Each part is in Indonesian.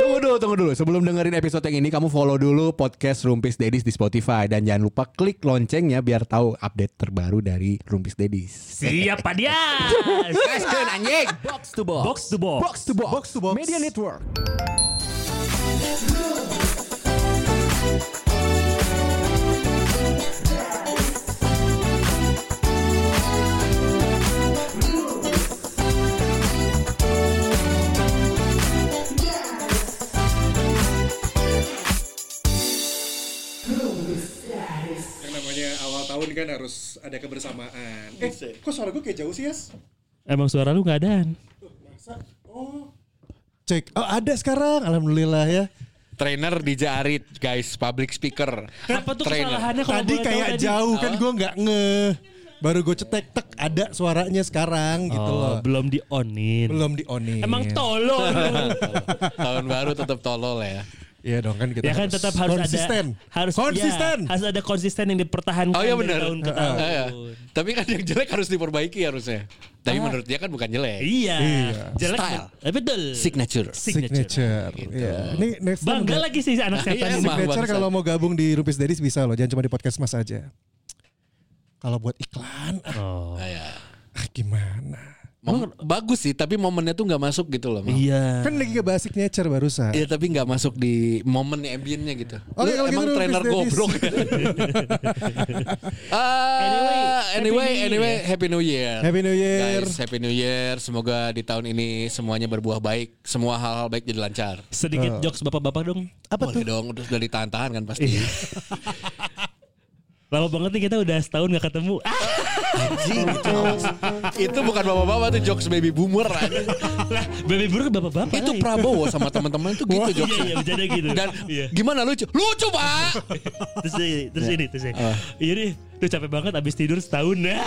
dulu, tunggu dulu. Sebelum dengerin episode yang ini, kamu follow dulu podcast Rumpis Dedis di Spotify dan jangan lupa klik loncengnya biar tahu update terbaru dari Rumpis Dedis. Siapa dia? Kaskeun anjing. Box to box. Box to box. Box to box. Box to box. Media Network. Yang namanya awal tahun kan harus ada kebersamaan. Eh, Gitu kok suara gue kayak jauh sih, Yas? Emang suara lu nggak ada? Cek. Oh ada sekarang. Alhamdulillah ya. Trainer di Jarit guys, public speaker. Apa tuh Trainer. kesalahannya kalau boleh Tadi tahu gitu. kayak tadi? jauh kan gue nggak nge. Baru gue cetek tek ada suaranya sekarang gitu Oh, loh. belum di onin. Belum di onin. Emang tolong. Tahun baru tetap tolol ya. Iya dong kan kita ya kan tetap harus konsisten. ada harus konsisten. ya, harus ada konsisten yang dipertahankan Oh iya dari benar. tahun ke tahun. Ah. Ah, iya. Tapi kan yang jelek harus diperbaiki harusnya. Tapi menurut dia kan bukan jelek. Iya. Jelek. Style. Eh, betul. Signature. Signature. Iya. Ini next Gitu. time Bangga udah- lagi sih anak Iya, setan ini. emang. Signature Bangsa. kalau mau gabung di Rupis Dedis bisa loh. Jangan cuma di podcast mas aja. Kalau buat iklan. ah, Oh. Ah, iya. Ah, gimana? Mom- bagus sih, tapi momennya tuh nggak masuk gitu loh. Mam. Iya. Kan lagi ngebahas signature barusan. Iya tapi nggak masuk di momen ambience-nya gitu. Lu Oke, kalau gitu emang dulu, trainer Chris Davis. goblok. Ah, Anyway, Happy anyway, New Year. anyway, happy new year. Happy New Year. Guys, happy new year. Semoga di tahun ini semuanya berbuah baik, semua hal-hal baik jadi lancar. Sedikit jokes bapak-bapak dong. Apa Boleh dong, udah udah ditahan-tahan kan pasti. Lama banget nih kita udah setahun gak ketemu. Ah, Anjing, itu jokes. itu bukan bapak-bapak tuh jokes baby boomer. anjing. lah, baby buruk bapak-bapak. itu lah. Prabowo sama teman-teman tuh gitu Wah, Iya, iya, jokesnya. bercanda gitu. Dan iya. gimana lucu? Lucu, Pak. terus ini, terus Ya. ini, terus ini. Ah. Iya nih, tuh capek banget abis tidur setahun. ya.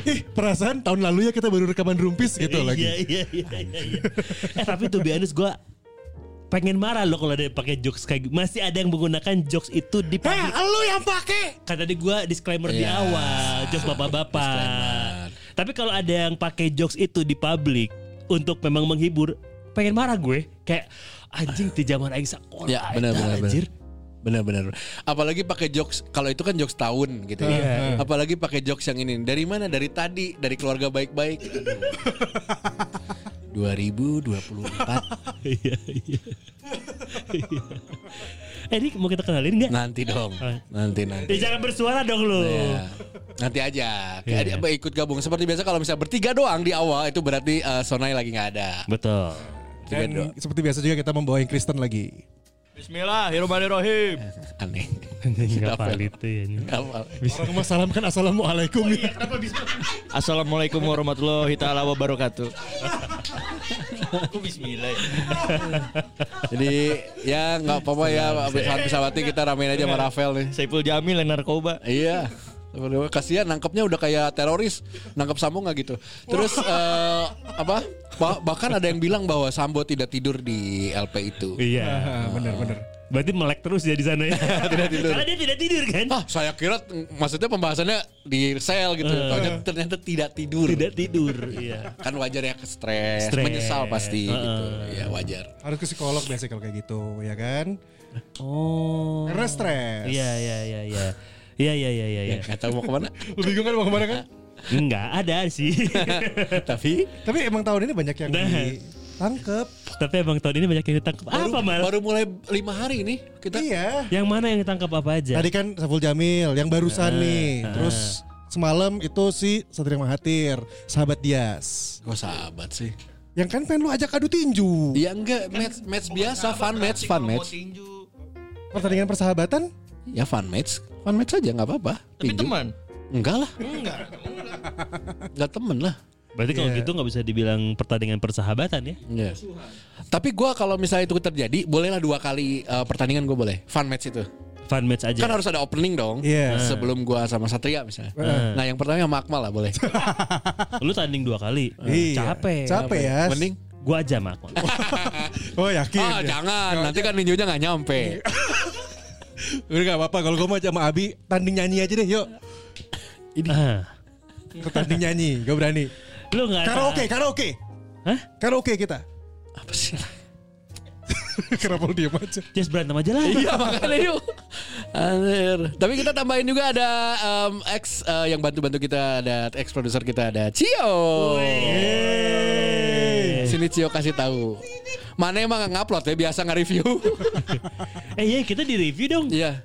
Ih, perasaan tahun lalu ya kita baru rekaman rumpis gitu lagi. Iya, iya, iya, iya, iya. Eh, tapi tuh Bianus gue pengen marah loh kalau ada yang pakai jokes kayak gitu. Masih ada yang menggunakan jokes itu di pagi. lu Eh, yang pakai. Kan tadi gue disclaimer di Ah. Iya. awal, jokes Disclaimer. bapak-bapak. Tapi kalau ada yang pakai jokes itu di publik untuk memang menghibur, pengen marah gue. Kayak anjing di zaman aing sekolah. Ya benar eta, benar anjir. benar. Benar benar. Apalagi pakai jokes kalau itu kan jokes tahun gitu ya. Iya. Apalagi pakai jokes yang ini. Dari mana? Dari tadi, dari keluarga baik-baik. Aduh. 2024 Iya, iya. Iya. Eh, ini mau kita kenalin nggak? nanti dong. Nanti nanti. Ya jangan bersuara dong lu. Ya. Nanti aja. Kayak Iya. dia ikut gabung seperti biasa kalau misalnya bertiga doang di awal itu berarti eh, Sonai lagi nggak ada. Betul. Dan seperti biasa juga kita membawain Kristen lagi. Bismillahirrahmanirrahim. Aneh. Enggak Kenapa? valid tuh ya. ini. Apa? Orang rumah salam kan assalamualaikum. Oh, iya. Assalamualaikum warahmatullahi taala wabarakatuh. Aku bismillah. Jadi ya nggak apa-apa ya Pesawati kita ramein aja sama Rafael nih. Saiful Jamil yang narkoba. Iya. Kasihan nangkepnya udah kayak teroris, nangkep Sambo nggak gitu. Terus eh, apa? Ba- bahkan ada yang bilang bahwa Sambo tidak tidur di LP itu. Iya. Ah, bener bener. Berarti melek terus ya di sana ya. Tidak tidur. Karena dia tidak tidur kan? Ah, saya kira mm, maksudnya pembahasannya di sel gitu. Taunya ternyata tidak tidur. Eh. Tidak tidur. Iya. Kan wajar ya ke stres, Stres. Eh, menyesal pasti gitu. Ya wajar. Harus ke psikolog biasa kalau kayak gitu, ya kan? Oh. Karena stres. Iya, iya, iya, iya. Iya, iya, iya, iya. iya. Nggak tahu mau kemana. Lu bingung kan mau kemana kan? Enggak ada sih. Tapi Tapi emang tahun ini banyak yang Nah. ditangkep. Tapi emang tahun ini banyak yang ditangkap. baru, Apa mal? baru mulai lima hari nih kita. Iya. Yang mana yang ditangkap apa aja? Tadi kan Saiful Jamil yang Nah. barusan nih. Terus semalam itu si Satria Mahathir, sahabat Dias. Gue sahabat sih. Yang kan pengen lu ajak adu tinju. Ya Iya. enggak match match biasa, fun match, fun match. Pertandingan persahabatan Ya fun match, fun match aja nggak apa-apa. Tapi Tinju. teman. Enggak lah. Enggak. Enggak temen lah. Berarti kalau gitu nggak bisa dibilang pertandingan persahabatan ya? Iya. Tapi gua kalau misalnya itu terjadi, bolehlah dua kali eh, pertandingan gue boleh. Fun match itu. Fun match aja. Kan harus ada opening dong. Eh, Iya. Sebelum gua sama Satria misalnya. Nah yang pertama sama Akmal lah boleh. Lu tanding dua kali. Iya. Capek. Capek ya. Mending. Gua aja mak. Oh yakin. Ah ya? jangan. Nanti kan ninjunya nggak nyampe. Udah gak apa-apa kalau gue mau sama Abi tanding nyanyi aja deh yuk. Ah. Ke tanding nyanyi, gue berani. Lu nggak ada- Karaoke, karaoke. Hah? Karaoke kita. apa sih? Kenapa lu diem aja? Just berantem aja lah. Iya makanya yuk. Anjir. Tapi kita tambahin juga ada em, ex eh, yang bantu-bantu kita ada ex produser kita ada Cio. Eh. Sini Cio kasih tahu. Mana emang nggak ngupload ya biasa nggak review. Eh iya kita di review dong. Iya.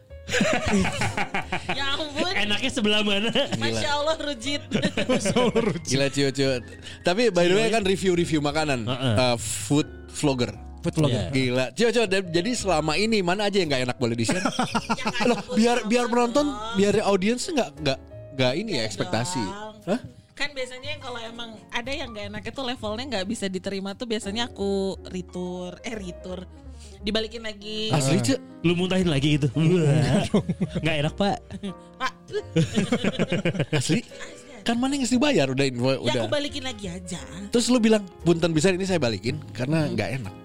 Ya ampun. Enaknya sebelah mana? Masya Allah Rujit. Gila Cio Cio. Tapi by the way kan review-review makanan, Heeh. Eh, food vlogger. Iya. Food vlogger. Gila. Cio Cio. dan- Jadi selama ini mana aja yang nggak enak boleh di share? Loh, biar biar penonton, biar audiens nggak nggak nggak ini ya ekspektasi. Hah? Kan biasanya yang kalau emang ada yang nggak enak itu levelnya nggak bisa diterima tuh biasanya aku retur, eh retur, dibalikin lagi. Asli Cio. Lu muntahin lagi gitu. Wah. Nggak enak pak. Pak, Asli? Kan mana yang mesti bayar udah info ya udah. aku balikin lagi aja. Terus lu bilang punten bisa ini saya balikin karena nggak enak.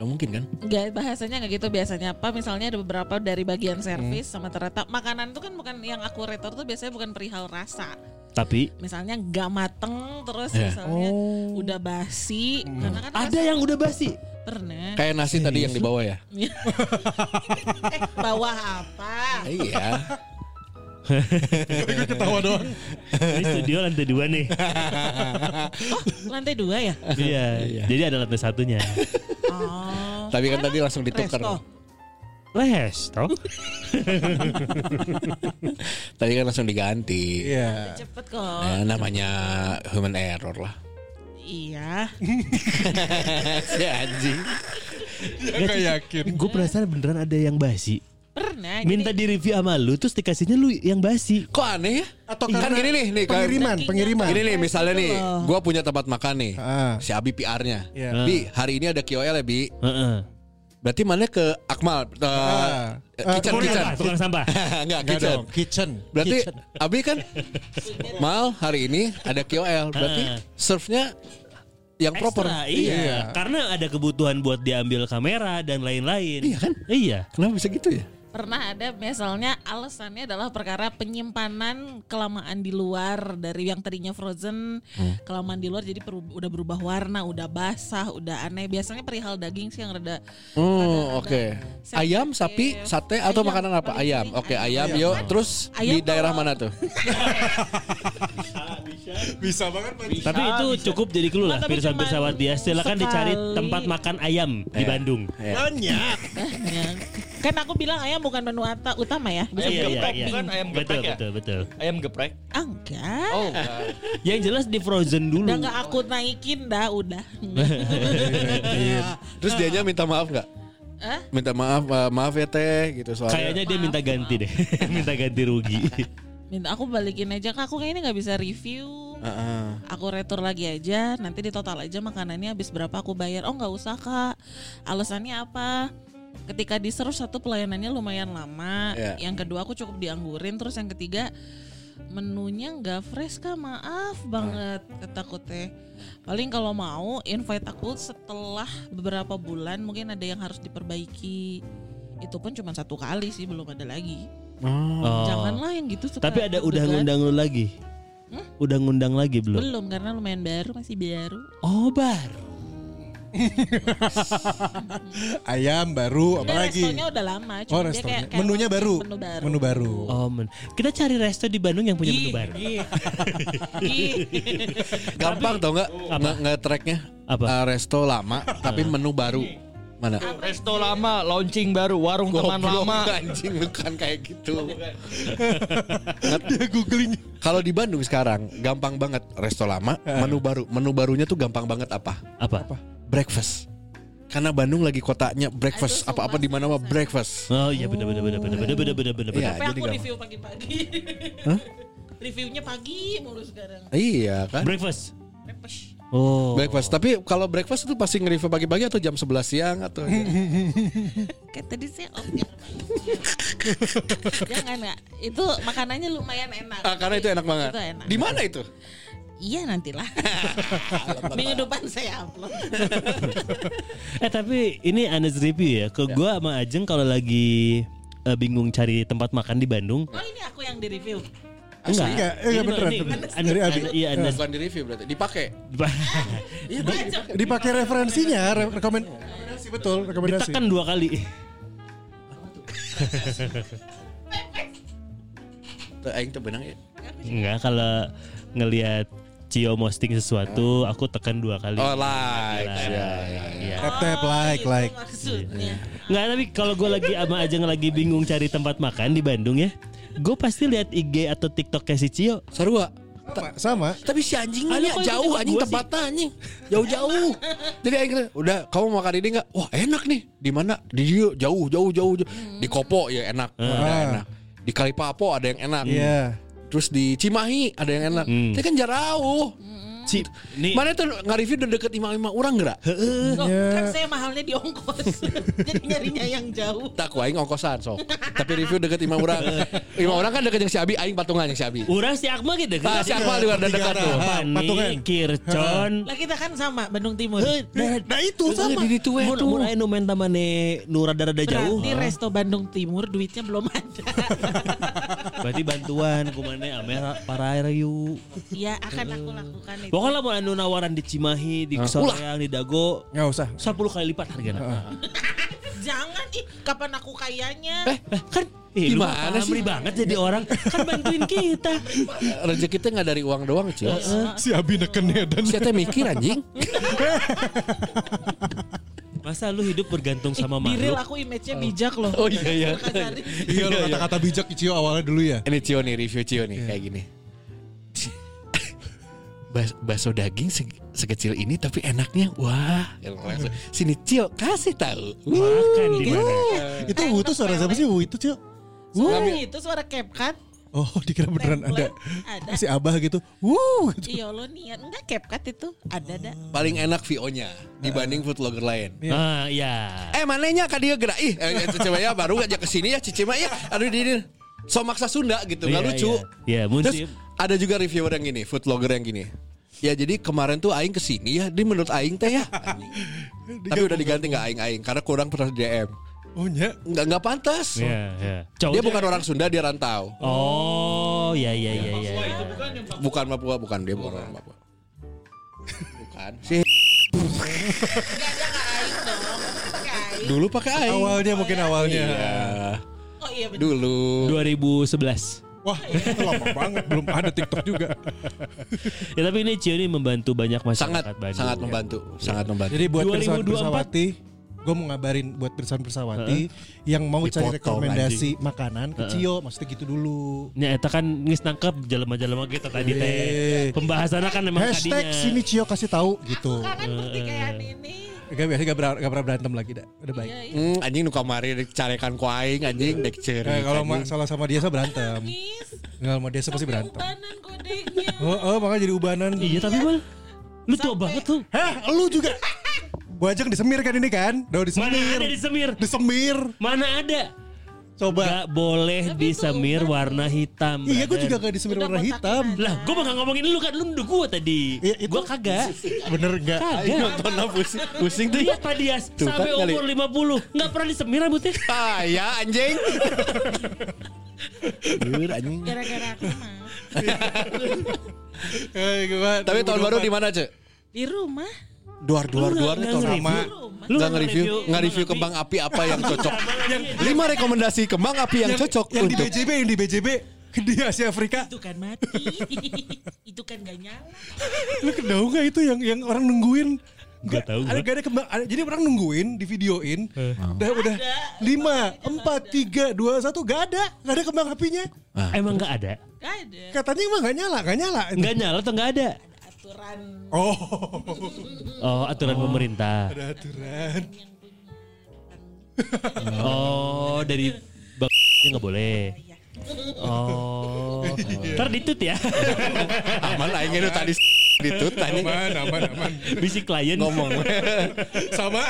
Nggak mungkin kan? Enggak, bahasanya nggak gitu biasanya apa misalnya ada beberapa dari Hmm. bagian servis sama ternyata makanan tuh kan bukan yang aku retur tuh biasanya bukan perihal rasa. Tapi Misalnya nggak mateng terus Iya. misalnya udah basi Hmm. karena kan ada yang udah basi. rasa- pernah Kayak nasi tadi yang dibawa ya. eh, bawah apa? Iya. Ketawa doang. Ini studio lantai dua nih. Lantai dua ya? iya. Jadi ada lantai satunya. Oh. Tapi kan tadi langsung ditukar. Nah. Resto. Les, toh? Tadi kan langsung diganti. Iya. Cepet kok. Nah, namanya human error lah. Iya. si anjing. Gak Ya, yakin. Gue penasaran beneran ada yang basi. Pernah. Minta di review sama lu terus dikasihnya lu yang basi. Kok aneh ya? Atau kan karena gini nih, nih kayak- Pengiriman, pengiriman. Iya. Gini nih misalnya nih, gua punya tempat makan nih. Ah. Si Abi PR-nya. Iya. Bi, hari ini ada KOL ya, Bi. Heeh. Berarti mana ke Akmal? Eh, Ah. kitchen, Eh, kitchen. Sampah, Tukang sampah. Enggak, Gak kitchen. dong. Kitchen. Berarti Kitchen. Abi kan Mal hari ini ada KOL Berarti Ah. serve-nya yang proper Ekstra, iya. Karena ada kebutuhan buat diambil kamera dan lain-lain. Iya kan? Iya. Kenapa bisa gitu ya? Pernah ada misalnya alasannya adalah perkara penyimpanan kelamaan di luar dari yang tadinya frozen Hmm. kelamaan di luar jadi peru- udah berubah warna, udah basah, udah aneh. Biasanya perihal daging sih yang rada Oh oke Sensitif. Ayam, sapi, sate atau Ayam, makanan apa? paling Ayam sering Oke ayam. ayam, yuk Terus Ayam di daerah kalau- mana tuh? Bisa banget Panji. Tapi itu cukup jadi clue lah Tapi Pirsa cuman Pirsawat dia Silakan sekali. dicari tempat makan ayam di Iya. Bandung Ayam. banyak. kan aku bilang ayam bukan menu ata- utama ya. Ah, Bisa Ayam iya. jadi geprek, topping. bukan ayam iya, Betul geprek ya? betul betul Ayam geprek. Ah, enggak. Oh, enggak. Yang jelas di frozen dulu Udah nggak aku naikin dah udah. Terus dianya minta maaf nggak? Hah? Minta maaf eh, Maaf ya teh gitu soalnya Kayaknya dia minta ganti deh Minta ganti rugi Minta aku balikin aja Kak, aku kayaknya nggak bisa review. Heeh. Aku retur lagi aja, nanti di total aja makanannya habis berapa aku bayar. Oh nggak usah kak, alasannya apa? Ketika di serve satu pelayanannya lumayan lama, Iya. yang kedua aku cukup dianggurin, terus yang ketiga menunya nggak fresh kak, maaf banget ketakutnya. Paling kalau mau invite aku setelah beberapa bulan mungkin ada yang harus diperbaiki. Itu pun cuma satu kali sih, belum ada lagi. Oh. Janganlah yang gitu. suka Tapi ada udah deg-degan. ngundang lu lagi Udah ngundang lagi belum? Belum karena lumayan baru, masih baru. Oh baru Ayam baru apa Enggak, lagi? restonya udah lama, cuma Oh, dia restonya. kayak- kayak Menunya baru. Menu baru. Menu baru. Oh men Kita cari resto di Bandung yang punya menu baru Ih. Gampang tau nggak nge- Nge-tracknya Apa? Eh, Resto lama Tapi menu baru Mana? Resto lama, launching baru, warung teman Goblok, lama. anjing bukan kayak gitu. Dia googling. Kalau di Bandung sekarang gampang banget resto lama, menu baru. Menu barunya tuh gampang banget apa? Apa? Breakfast. Karena Bandung lagi kotanya breakfast, Aduh, apa-apa di mana mah breakfast. Oh iya bener bener bener bener bener bener bener bener bener. Iya, Tapi aku jadi gampang. review pagi-pagi. Reviewnya pagi mulu sekarang. Iya kan? Breakfast Repesh. Oh Breakfast. Tapi kalau breakfast itu pasti nge-review pagi-pagi atau jam 11 siang atau iya? Kayak tadi saya off ya. Jangan ya. Itu makanannya lumayan enak. Ah, karena itu enak banget. Itu enak. Di mana itu? Iya nantilah. Minggu depan saya upload. Eh tapi ini honest review ya. Ke gua sama Ajeng kalau lagi eh, bingung cari tempat makan di Bandung, Oh ini aku yang di review. Asli enggak? Eh, enggak Ini beneran. ini- beneran. Anda- Dari Abi. Anda- Iya, Anda. Bukan di review berarti, dipakai. Iya, dipakai. Dipakai referensinya, re- rekomen rekomendasi betul, rekomendasi. Ditekan dua kali. Tuh, Aing tuh benang ya. Enggak kalau ngelihat Cio posting sesuatu, aku tekan dua kali. Oh, like. Nah, Ya, ya, ya. iya. Tap tap like gitu like. Maksudnya. Iya. Nggak tapi kalau gue lagi ama aja lagi bingung cari tempat makan di Bandung ya, gue pasti lihat IG atau TikTok si Cio. Sarua. Sama, sama. Tapi si anjing Ada ini kok yang jauh ikut anjing gua tempatnya anjing. Jauh-jauh. Jadi aing kata, udah kamu makan ini enggak? Wah, enak nih. Di mana? Di dia, jauh jauh jauh jauh. Di Kopo ya enak. Hmm. Ada Ah. enak. Di Kalipapo ada yang enak. Iya. Terus di Cimahi ada yang enak. Hmm. Tapi kan jauh. Ci, nih Mana tuh nge-review udah deket imam-imam orang enggak? Loh, Iya. kan saya mahalnya di ongkos. Jadi nyarinya yang jauh. Tak ku aing ongkosan sok. Tapi review deket imam orang. imam orang kan deket yang si Abi, aing patungan yang si Abi. Urang si Akmal gitu Nah, Ah, si Akmal juga udah dekat tuh. Patungan. Ah. Pani, Kircon, Lah kita kan sama Bandung Timur. Nah, itu Iya, sama. di tuh ya tuh. Mulai nu menta mane nu rada-rada Eh, jauh. Berarti resto Bandung Timur duitnya belum ada. Ah. Berarti bantuan kumane amera parayu. ya akan aku lakukan itu. Pokoknya mau anu nawaran di Ah. Cimahi, di Soreang, di Dago, Enggak usah. 10 kali lipat harganya. Jangan ih kapan aku kayanya. Eh, kan eh, lu Gimana mah sih? paham banget jadi orang kan bantuin kita. Rezeki kita nggak dari uang doang, Cil. Si Abi neken ya dan Saya teh mikir anjing. Masa lu hidup bergantung sama Di makhluk? real aku image-nya bijak loh. Oh iya iya. Kasari. Iya lo kata-kata bijak Icio awalnya dulu ya. Ini Cio nih review Cio nih Iya. kayak gini. Bas baso daging se- sekecil ini tapi enaknya wah. Langsung, Sini Cio kasih tahu. Makan di mana? Itu Wu itu suara siapa sih Wu itu Cio? Eh, Suara itu suara CapCut. Oh dikira beneran ada. Ada. Si Abah gitu. Wuh. gitu. Iya lo niat enggak CapCut itu ada ada. Paling enak VO-nya dibanding Iya. food vlogger lain. Ah iya. Eh mananya ka dia gerak ih eh, Cece mah ya baru aja ke sini ya Cece mah ya aduh di di- so maksa Sunda gitu nggak Iya, lucu. iya. Iya, Terus muncul. ada juga reviewer yang gini, food vlogger yang gini. Ya jadi kemarin tuh Aing kesini ya, dia menurut Aing teh ya. Tapi udah diganti nggak Aing Aing karena kurang pernah di DM. Oh nya. Nggak nggak pantas. Iya, iya. Dia Cowoknya- bukan orang Sunda, dia rantau. Oh, iya iya iya iya. Bukan Papua, bukan dia bukan orang Papua. Bukan. Si dulu pakai Aing. Awalnya mungkin awalnya. Iya. Oh iya benar. Dulu. 2011. Wah itu lama banget belum ada TikTok juga. Ya tapi ini Cio ini membantu banyak masyarakat sangat Bandung. ya. sangat membantu, sangat membantu. Jadi buat Pirsawan 2024. Persawati, gue mau ngabarin buat Pirsawan Persawati yang mau cari Dipotong, rekomendasi makanan ke Cio, maksudnya gitu dulu. Ya eta kan nges nangkep jelema-jelema gitu tadi Iya. teh. Eh. Pembahasannya kan memang Hashtag tadinya. sini Cio kasih tahu gitu. Kan pertikaian ini. Gak biasa gak, pernah- gak pernah berantem lagi dah. Udah baik. Iya, iya. Hmm, anjing nu kamari carekan ku aing anjing dek ceuri. Eh, kalau ma- salah sama dia saya berantem. Nangis. Nggak sama dia saya pasti berantem. Ubanan godeknya. Oh, oh makanya jadi ubanan. Iya tapi mal lu tua banget tuh. Hah, lu juga. Bajang disemir kan ini kan? Udah Mana disemir. ada disemir? Disemir. Mana ada? Coba. Gak boleh Tapi disemir itu warna hitam. Iya, gue brother. juga gak disemir Udah warna botakin hitam. aja. Lah, gue mah gak ngomongin lu kan lu nuduh gue tadi. Iya, itu- Gue kagak. Bener gak? Kagak. Nonton lah pusing, pusing tuh. Iya Pak Dias Tuh kan sampai kali. umur 50 nggak pernah disemir rambutnya. Ah, ya anjing. Gara-gara aku mah. Eh, Tapi tahun baru di mana, Cek? Di rumah. Duar duar Lu duar nih nggak- nggak tahun nge-review? lama. Rumah. Lu Enggak nggak nge-review, nge-review, nggak review nggak kembang api apa yang cocok. Sama lagi. Lima rekomendasi kembang api yang cocok Yang di untuk BJB, yang di BJB. Di Asia Afrika. Itu kan mati. itu kan gak nyala. Lu kenal gak itu yang yang orang nungguin? Nggak tahu Ada, gua. gak ada kembang. ada- jadi orang nungguin, di videoin. Udah, udah. Lima, empat, tiga, dua, satu. Gak ada. Gak ada kembang apinya. Emang nggak ada? Gak ada. Katanya emang gak nyala, gak nyala. Nggak nyala atau nggak ada? Aturan Oh, Oh aturan pemerintah. ada aturan. Oh dari bang nggak boleh. Oh, ntar ditut ya. aman aing itu tadi ditut tadi Aman, aman, aman. Bisi klien. ngomong. Sama.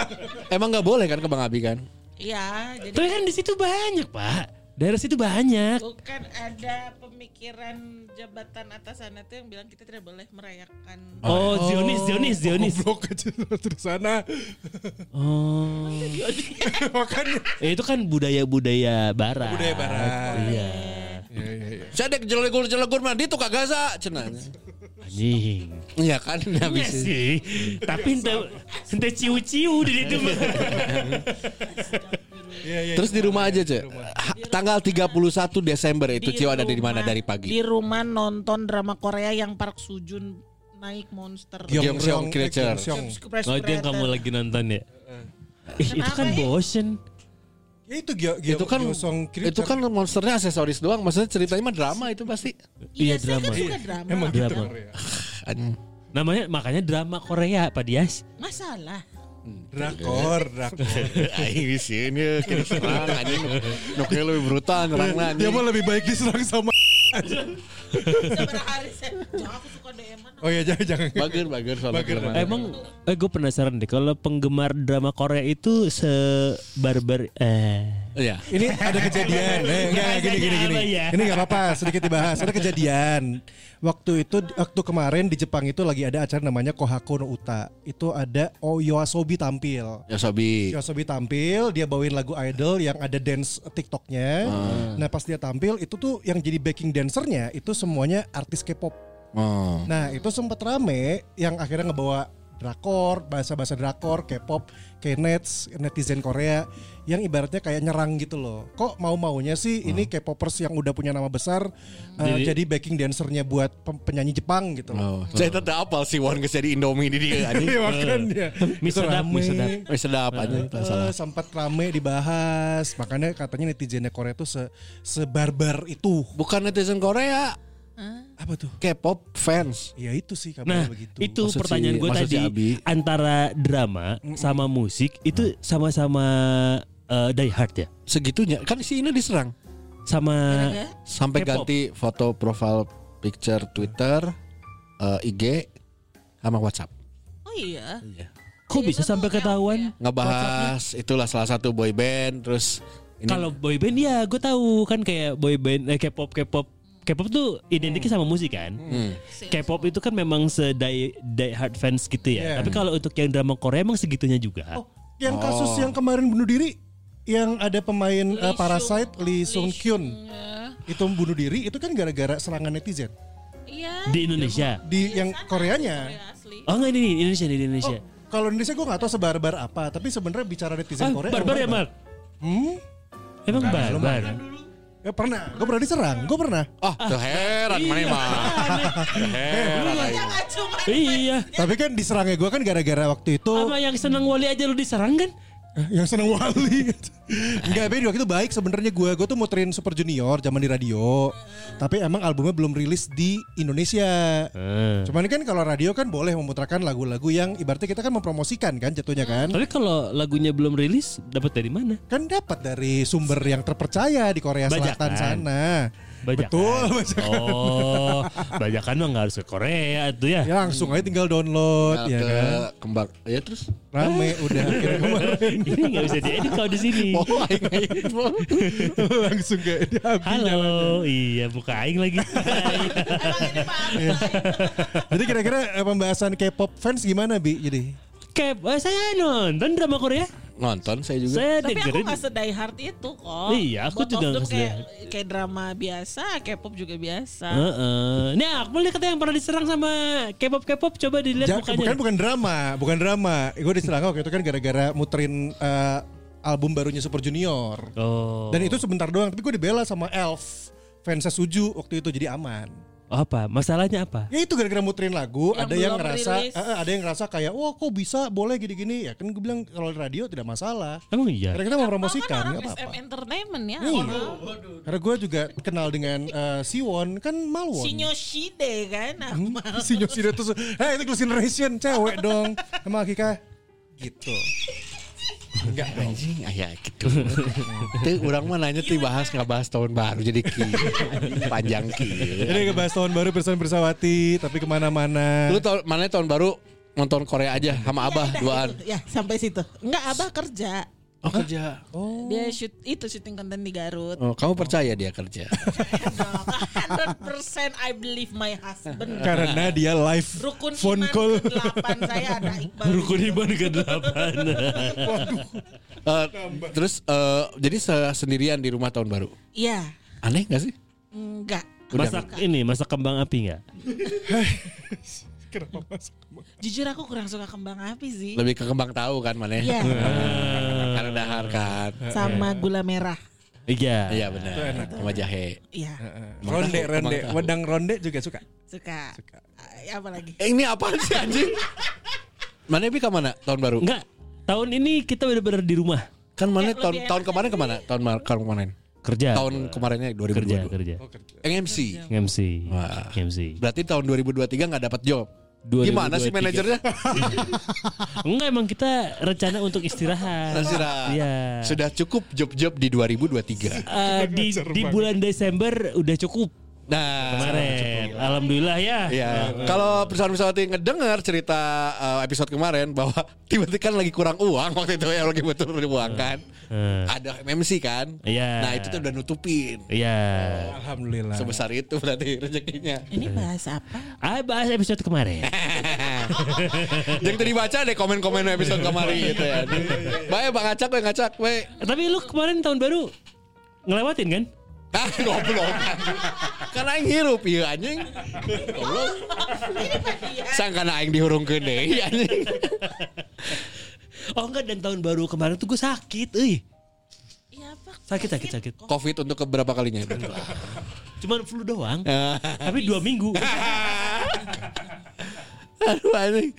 Emang nggak boleh kan kembang api kan? Ya, jadi Tapi kan di situ banyak pak. Daerah situ banyak. bukan ada pemikiran jabatan atasan itu yang bilang kita tidak boleh merayakan. Oh, Zionis, Zionis, Zionis. Oh, Goblok aja terus sana. Oh, Makanya. Eh, itu kan budaya-budaya barat. Budaya barat. Iya. Iya, iya, iya. Saya dek jelegur-jelegur mandi tuh kagaza cenah. Anjing. Iya kan Iya habis sih. Tapi ente ente ciu-ciu di itu mah. Terus di rumah aja, Cek. Ha- Tanggal 31 Desember itu Cio ada di mana rumah- dari pagi? Di rumah nonton drama Korea yang Park Sujun naik monster. Gyeong- eh, Gyeongseong Creature. Surprise Oh itu yang kamu Predator. lagi nonton ya? Ih, itu Kenapa kan ya? bosen. Ya itu Gyo- Gyo- Itu kan Gyeongsong Creature. itu kan monsternya aksesoris doang. Maksudnya ceritanya mah drama itu pasti. Iya, Iya saya drama. kan suka drama. emang gitu. Drama. Korea. An- Namanya makanya drama Korea Pak Dias. Masalah. Drakor, drakor. Aing sieun ye kita serang anjing. Nu kieu leuwih brutal nyerangna Iya, Dia anjing. mah lebih baik diserang sama. Seberapa hari saya, jangan aku suka DM-an. Oh ya jangan jangan. Bager bager soalnya. Bager. filmnya. Emang eh gue penasaran deh kalau penggemar drama Korea itu sebarbar eh Iya. Ini ada kejadian. Eh, enggak, Bahasanya gini gini gini. apa ya? Ini enggak apa-apa, sedikit dibahas. Ada kejadian. Waktu itu waktu kemarin di Jepang itu lagi ada acara namanya Kohako no Uta. Itu ada Oh Yoasobi tampil. Ya, Yosobi. Yosobi tampil, dia bawain lagu idol yang ada dance TikToknya. Nah pas dia tampil itu tuh yang jadi backing dancernya itu semuanya artis K-pop. Oh. Nah itu sempat rame yang akhirnya ngebawa drakor, bahasa-bahasa drakor, K-pop, K-nets, netizen Korea yang ibaratnya kayak nyerang gitu loh. Kok mau-maunya sih ini K-popers yang udah punya nama besar eh, jadi, backing dancernya buat pem- penyanyi Jepang gitu loh. Oh. Saya tetap apal sih Wan geus jadi Indomie di dia anjing. Iya makanya. Mie Itu sedap, mie rame. sedap. Eh, sedap anjing. tak salah. Eh, sempat rame dibahas makanya katanya netizennya Korea tuh se sebarbar itu Bukan netizen Korea, apa tuh K-pop fans. ya itu sih kabarnya Nah, begitu itu Maksud si- pertanyaan gue maksud si tadi Abi. antara drama sama musik itu sama-sama eh, die hard ya. Segitunya kan si Ina diserang. Sama Gara-gara? Sampai K-pop. ganti foto profile picture Twitter, eh, IG sama WhatsApp. Oh iya. kok Jadi bisa itu sampai tuh ketahuan? LV Ngebahas itulah salah satu boy band terus ini Kalau boyband ya gue tahu kan kayak boyband eh, K-pop K-pop K-pop tuh identiknya sama musik kan. Mm. K-pop itu kan memang se die, die hard fans gitu ya. Yeah. Tapi kalau untuk yang drama Korea emang segitunya juga. oh yang kasus yang kemarin bunuh diri yang ada pemain eh, Parasite Lee Sung Kyun itu bunuh diri itu kan gara-gara serangan netizen Iya. Di Indonesia. di yang Koreanya Korea asli. Oh enggak ini nih, Indonesia nih, di Indonesia. kalau Indonesia gue gak tahu sebarbar apa tapi sebenarnya bicara Ah, netizen Korea barbar ya, Mar? hmm? Emang barbar. ya pernah gue pernah diserang gue pernah Oh, tuh heran mana mah. Heran. aing. Jangan Iya, cuma Iya. tapi kan diserangnya gue kan gara-gara waktu itu Sama yang senang wali aja lu diserang kan? Eh, yang seneng wali Enggak, tapi waktu itu baik sebenarnya gue Gue tuh muterin Super Junior zaman di radio Tapi emang albumnya belum rilis di Indonesia Eh. Cuman kan kalau radio kan boleh memutarkan lagu-lagu yang Ibaratnya kita kan mempromosikan kan jatuhnya kan Tapi kalau lagunya belum rilis dapat dari mana? Kan dapat dari sumber yang terpercaya di Korea Selatan Bajakan. sana Bajakan. Betul bajakan. Oh, bajakan mah nggak harus ke Korea tuh ya. Ya langsung aja tinggal download ya Ke kan kembar. Ya terus. Rame udah akhirnya kemarin Ini nggak bisa diedit kalau di sini. Oh, aing info. Langsung gak diambil Halo, iya buka aing lagi. emang ini Pak. Iya. Jadi kira-kira eh, pembahasan K-pop fans gimana Bi? Jadi Kep, eh, saya nonton drama Korea. Nonton saya juga. Saya Tapi aku dengerin. ya. gak sedai hard itu kok. Iya, aku Buat juga off-top nggak kayak, sedai kayak drama biasa, K-pop juga biasa. Heeh. Nih Akmal nih katanya yang pernah diserang sama K-pop K-pop coba dilihat Ja- mukanya. bukan bukan drama, bukan drama. Gue diserang waktu itu kan gara-gara muterin eh, album barunya Super Junior. Oh. Dan itu sebentar doang, tapi gue dibela sama Elf fansnya Suju waktu itu jadi aman. apa? Masalahnya apa? Ya itu gara-gara muterin lagu, Yang ada yang belum ngerasa, rilis. eh, eh, ada yang ngerasa kayak, wah kok bisa, boleh gini-gini. Ya kan gue bilang kalau di radio tidak masalah. Emang iya. Karena kita mau Kan promosikan, orang nggak SM apa-apa. Entertainment ya. Iya. Karena gue juga kenal dengan eh, Siwon, kan Malwon. Shinyo Shide kan. Hmm. Akmal. Sinyo Sinyo terus, eh itu Close Generation, cewek dong. Sama Akika, gitu. Enggak anjing, ah, ya gitu. Teu urang mah nanya teh bahas nggak bahas tahun baru jadi ki. Panjang ki. Jadi Iya. ngebahas tahun baru bersama Bersawati, tapi kemana-mana. Lu tahun mana tahun baru nonton Korea aja sama Abah Udah, duaan. itu. Ya sampai situ. Enggak abah kerja. Oh kerja. Oh. Dia shoot itu syuting konten di Oh. Garut. kamu percaya dia kerja? 100% I believe my husband. Ah. Karena dia live Rukun phone iman call. ke-8 saya ada Iqbal. Rukun Iman ke delapan. Eh, terus eh, jadi se- sendirian di rumah tahun baru. Iya. Aneh gak sih? Enggak. Udah Masak ini, masak kembang api nggak? Kenapa mas? Jujur aku kurang suka kembang api sih. lebih ke kembang tahu kan mana? Iya. Karena dahar kan. Sama gula merah. Iya. Iya benar. Sama jahe. Eh. Iya, Ronde, Ronde, ronde. ronde. Wedang ronde juga suka. suka. Eh, Apa lagi? Eh, ini apa sih anjing? mana Bi kemana tahun baru? Enggak. Tahun ini kita bener-bener di rumah Kan mana Eh, tahun lebih tahun enak kemarin kemana? Tahun mar- tahun kemarin. kerja. Tahun kemarinnya Ya. kerja 2022. kerja. MC. MC. Wah. MC. Berarti tahun 2023 nggak dapat job. 2023. Gimana sih manajernya? Enggak emang kita rencana untuk istirahat. Nasira, Iya. Sudah cukup job-job di 2023. Eh, di, di bulan Desember udah cukup Nah, kemarin. Alhamdulillah ya. Ya, kalau perusahaan-perusahaan ngedengar cerita uh, episode kemarin bahwa tiba-tiba kan lagi kurang uang waktu itu ya lagi butuh uang kan, Eh, ada MMC kan, Iya. nah itu tuh udah nutupin Iya. Nah. Alhamdulillah. sebesar itu berarti rezekinya. Ini bahasa apa? Ah bahas episode kemarin. Yang tadi baca deh komen-komen episode kemarin gitu ya. Baik bang acak, bang acak, baik. Eh, Tapi lu kemarin tahun baru ngelewatin kan? Ah goblok. Karena aing hirup iya anjing. Goblok. Sangkana aing dihurungkeun deui anjing. Oh enggak dan tahun baru kemarin tuh gue sakit, euy. Iya apa? Sakit sakit sakit. Covid untuk keberapa kalinya? Ah. Cuman flu doang. Tapi dua minggu. Aduh anjing.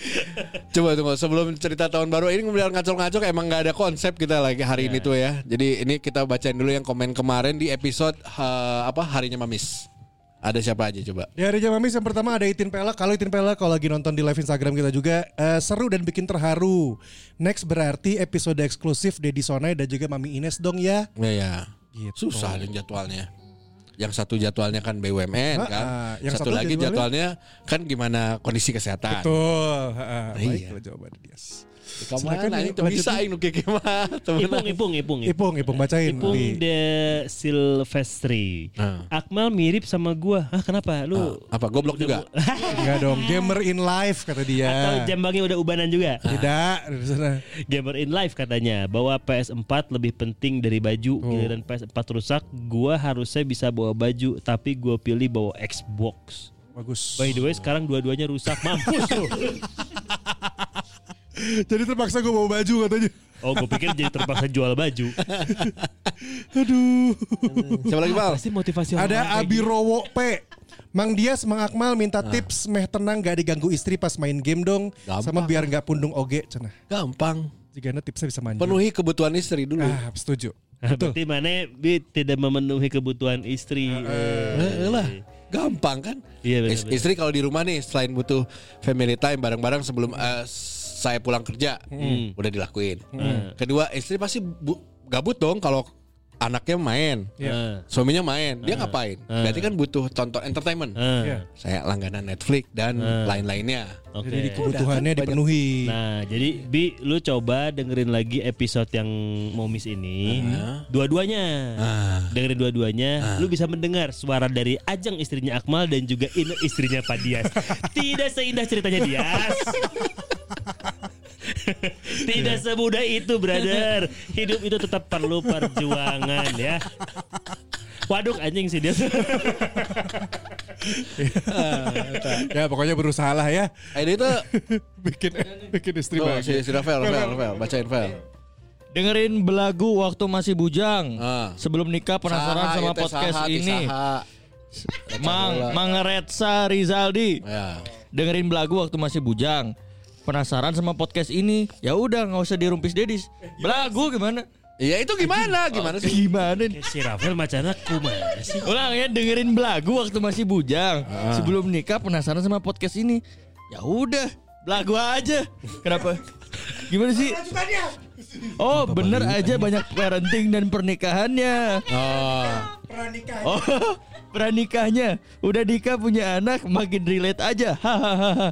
Coba tunggu sebelum cerita tahun baru ini kemudian ngacok-ngacok emang nggak ada konsep kita lagi hari Iya. ini tuh ya. Jadi ini kita bacain dulu yang komen kemarin di episode eh, apa harinya Mamis. Ada siapa aja coba? Di hari Jamamis Ya, yang pertama ada Itin Pelak. Kalau Itin Pelak kalau lagi nonton di live Instagram kita juga eh, seru dan bikin terharu. Next berarti episode eksklusif Deddy Sonai dan juga Mami Ines dong ya. Ya ya. Gitu. Susah yang jadwalnya. Yang satu jadwalnya kan BUMN kan. Ah, ah. Yang satu, satu lagi jadwalnya- jadwalnya kan gimana kondisi kesehatan. Betul. Heeh, Oh, Iya. Baiklah jawaban dia. Kamu Silakan, nah, yuk, itu bisa lanjutin. ini kayak gimana? Ipung ipung ipung. Ipung, Ipung bacain. Ipung Di- the Silvestri. Hmm. Akmal mirip sama gua. Hah kenapa? Lu Ah, Apa goblok juga? Enggak dong, gamer in life kata dia. Atau jambangnya udah ubanan juga. Ah. Tidak, di sana. Gamer in life katanya bahwa PS4 lebih penting dari baju. Oh. Giliran PS4 rusak, gua harusnya bisa bawa baju, tapi gua pilih bawa Xbox. Bagus. By the way, sekarang dua-duanya rusak. Mampus lu. Jadi terpaksa gue bawa baju katanya. Oh, gue pikir jadi terpaksa jual baju. Aduh. Siapa lagi, Bal? Pasti motivasi Ada Abirowo P. Mang Dias, Mang Akmal minta tips meh tenang gak diganggu istri pas main game dong. Gampang. Sama biar gak pundung oge cenah. Gampang. Jika anda tipsnya bisa manjur. Penuhi kebutuhan istri dulu. Ah, setuju. Berarti mana Bi, tidak memenuhi kebutuhan istri. Eh, lah. Gampang kan? Iya, benar, Is- benar. Istri kalau di rumah nih selain butuh family time bareng-bareng sebelum eh, saya pulang kerja Hmm. hmm, udah dilakuin. Kedua, istri pasti bu- gabut dong kalau anaknya main. Iya. Suaminya main, dia ngapain? Berarti kan butuh tonton entertainment. Ah, Saya langganan Netflix dan lain-lainnya. Oke. Jadi kebutuhannya dipenuhi. Nah, jadi Bi, lu coba dengerin lagi episode yang Momis ini. Dua-duanya. Dengerin dua-duanya, lu bisa mendengar suara dari Ajeng istrinya Akmal dan juga Ine istrinya Padias. Tidak seindah ceritanya Dias. Tidak semudah itu, brother. Hidup itu tetap perlu perjuangan ya. Waduh anjing sih dia. ya pokoknya berusaha lah ya. Eh, Ini tuh Bikin bikin istri tuh, bahagia. si, si Rafael, Rafael, Rafael, bacain Rafael. Dengerin belagu waktu masih bujang. Ah. Sebelum nikah penasaran Saha, sama itu podcast saha, ti ini. saha. Mang Mang Retsa Rizaldi. Ya. Dengerin belagu waktu masih bujang. Penasaran sama podcast ini? Ya udah nggak usah dirumpis Dedis. Belagu gimana? Iya itu gimana? Gimana sih? Gimana nih? si Rafael macana kumaha sih? Ulang ya dengerin belagu waktu masih bujang. Ah. Sebelum nikah penasaran sama podcast ini. Ya udah, belagu aja. Kenapa? Gimana sih? Oh, bener aja banyak parenting dan pernikahannya. Oh. Oh, pernikahnya. Udah nikah punya anak makin relate aja. Hahaha.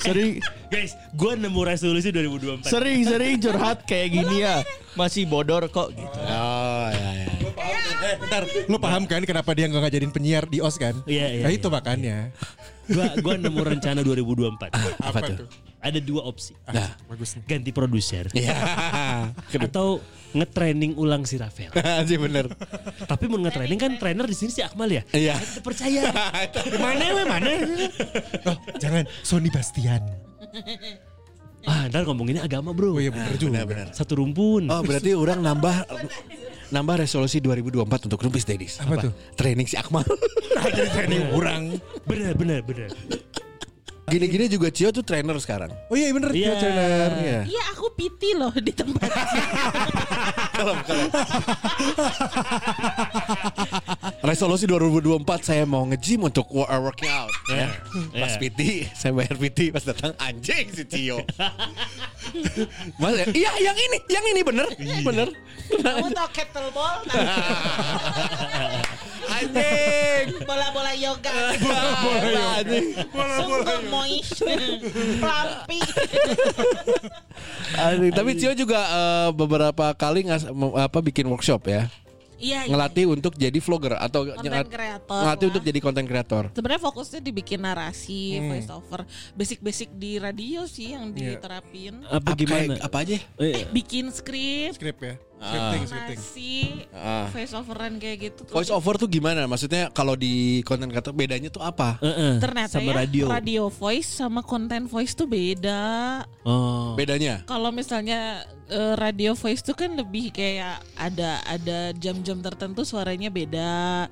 Sering Guys, gua nemu resolusi 2024. sering-sering curhat kayak gini ya. Masih bodor kok gitu. Oh ya ya. Bentar, lu paham kan kenapa dia nggak ngajarin penyiar di OS kan? Iya, iya, Nah itu makanya. Gua gua nemu rencana 2024. Apa tuh? Ada dua opsi. Nah, Bagus nih. Ganti produser iya. atau ngetraining ulang si Rafael. Anjir bener. Tapi mau ngetraining kan trainer di sini si Akmal ya. Iya. Kita percaya. Mana we mana? Oh, jangan Sony Bastian. Ah, ntar ngomonginnya agama, Bro. Ah, Oh iya bener juga. Bener bener. Satu rumpun. Oh berarti orang nambah nambah resolusi 2024 untuk Rumpis Dedis. Apa tuh? Training si Akmal. Nah, Jadi training orang. Bener bener bener. Gini-gini juga Cio tuh trainer sekarang. Oh iya bener Iya. dia trainer. Iya. Iya aku piti loh di tempat Resolusi 2024 saya mau nge-gym untuk wo- uh, workout. Ya. Iya. Pas PT, saya bayar PT pas datang anjing si Cio. Mas, iya yang ini, yang ini bener, bener. kamu Nah, tau kettlebell Anjing. bola-bola yoga Anjing. sungguh moist pelampi Anjing. Tapi Cio juga eh, beberapa kali ngas- mem- apa bikin workshop ya, iya iya. ngelatih untuk jadi vlogger atau Content ngelat- creator ngelatih lah. untuk jadi content creator. Sebenarnya fokusnya dibikin narasi, voice over, basic-basic di radio sih yang diterapin. Apa kayak- gimana? apa aja? iya. Eh, Bikin skrip, Script ya. Ah. Scripting, scripting. narasi, Ah. Oh, voice overan kayak gitu. Voice over tuh gimana? Maksudnya kalau di content creator bedanya tuh apa? eh, eh, Ternyata sama ya, radio. voice sama konten voice tuh beda. Oh. Iya. Bedanya? Kalau misalnya eh, radio voice tuh kan lebih kayak ada ada jam-jam tertentu suaranya beda.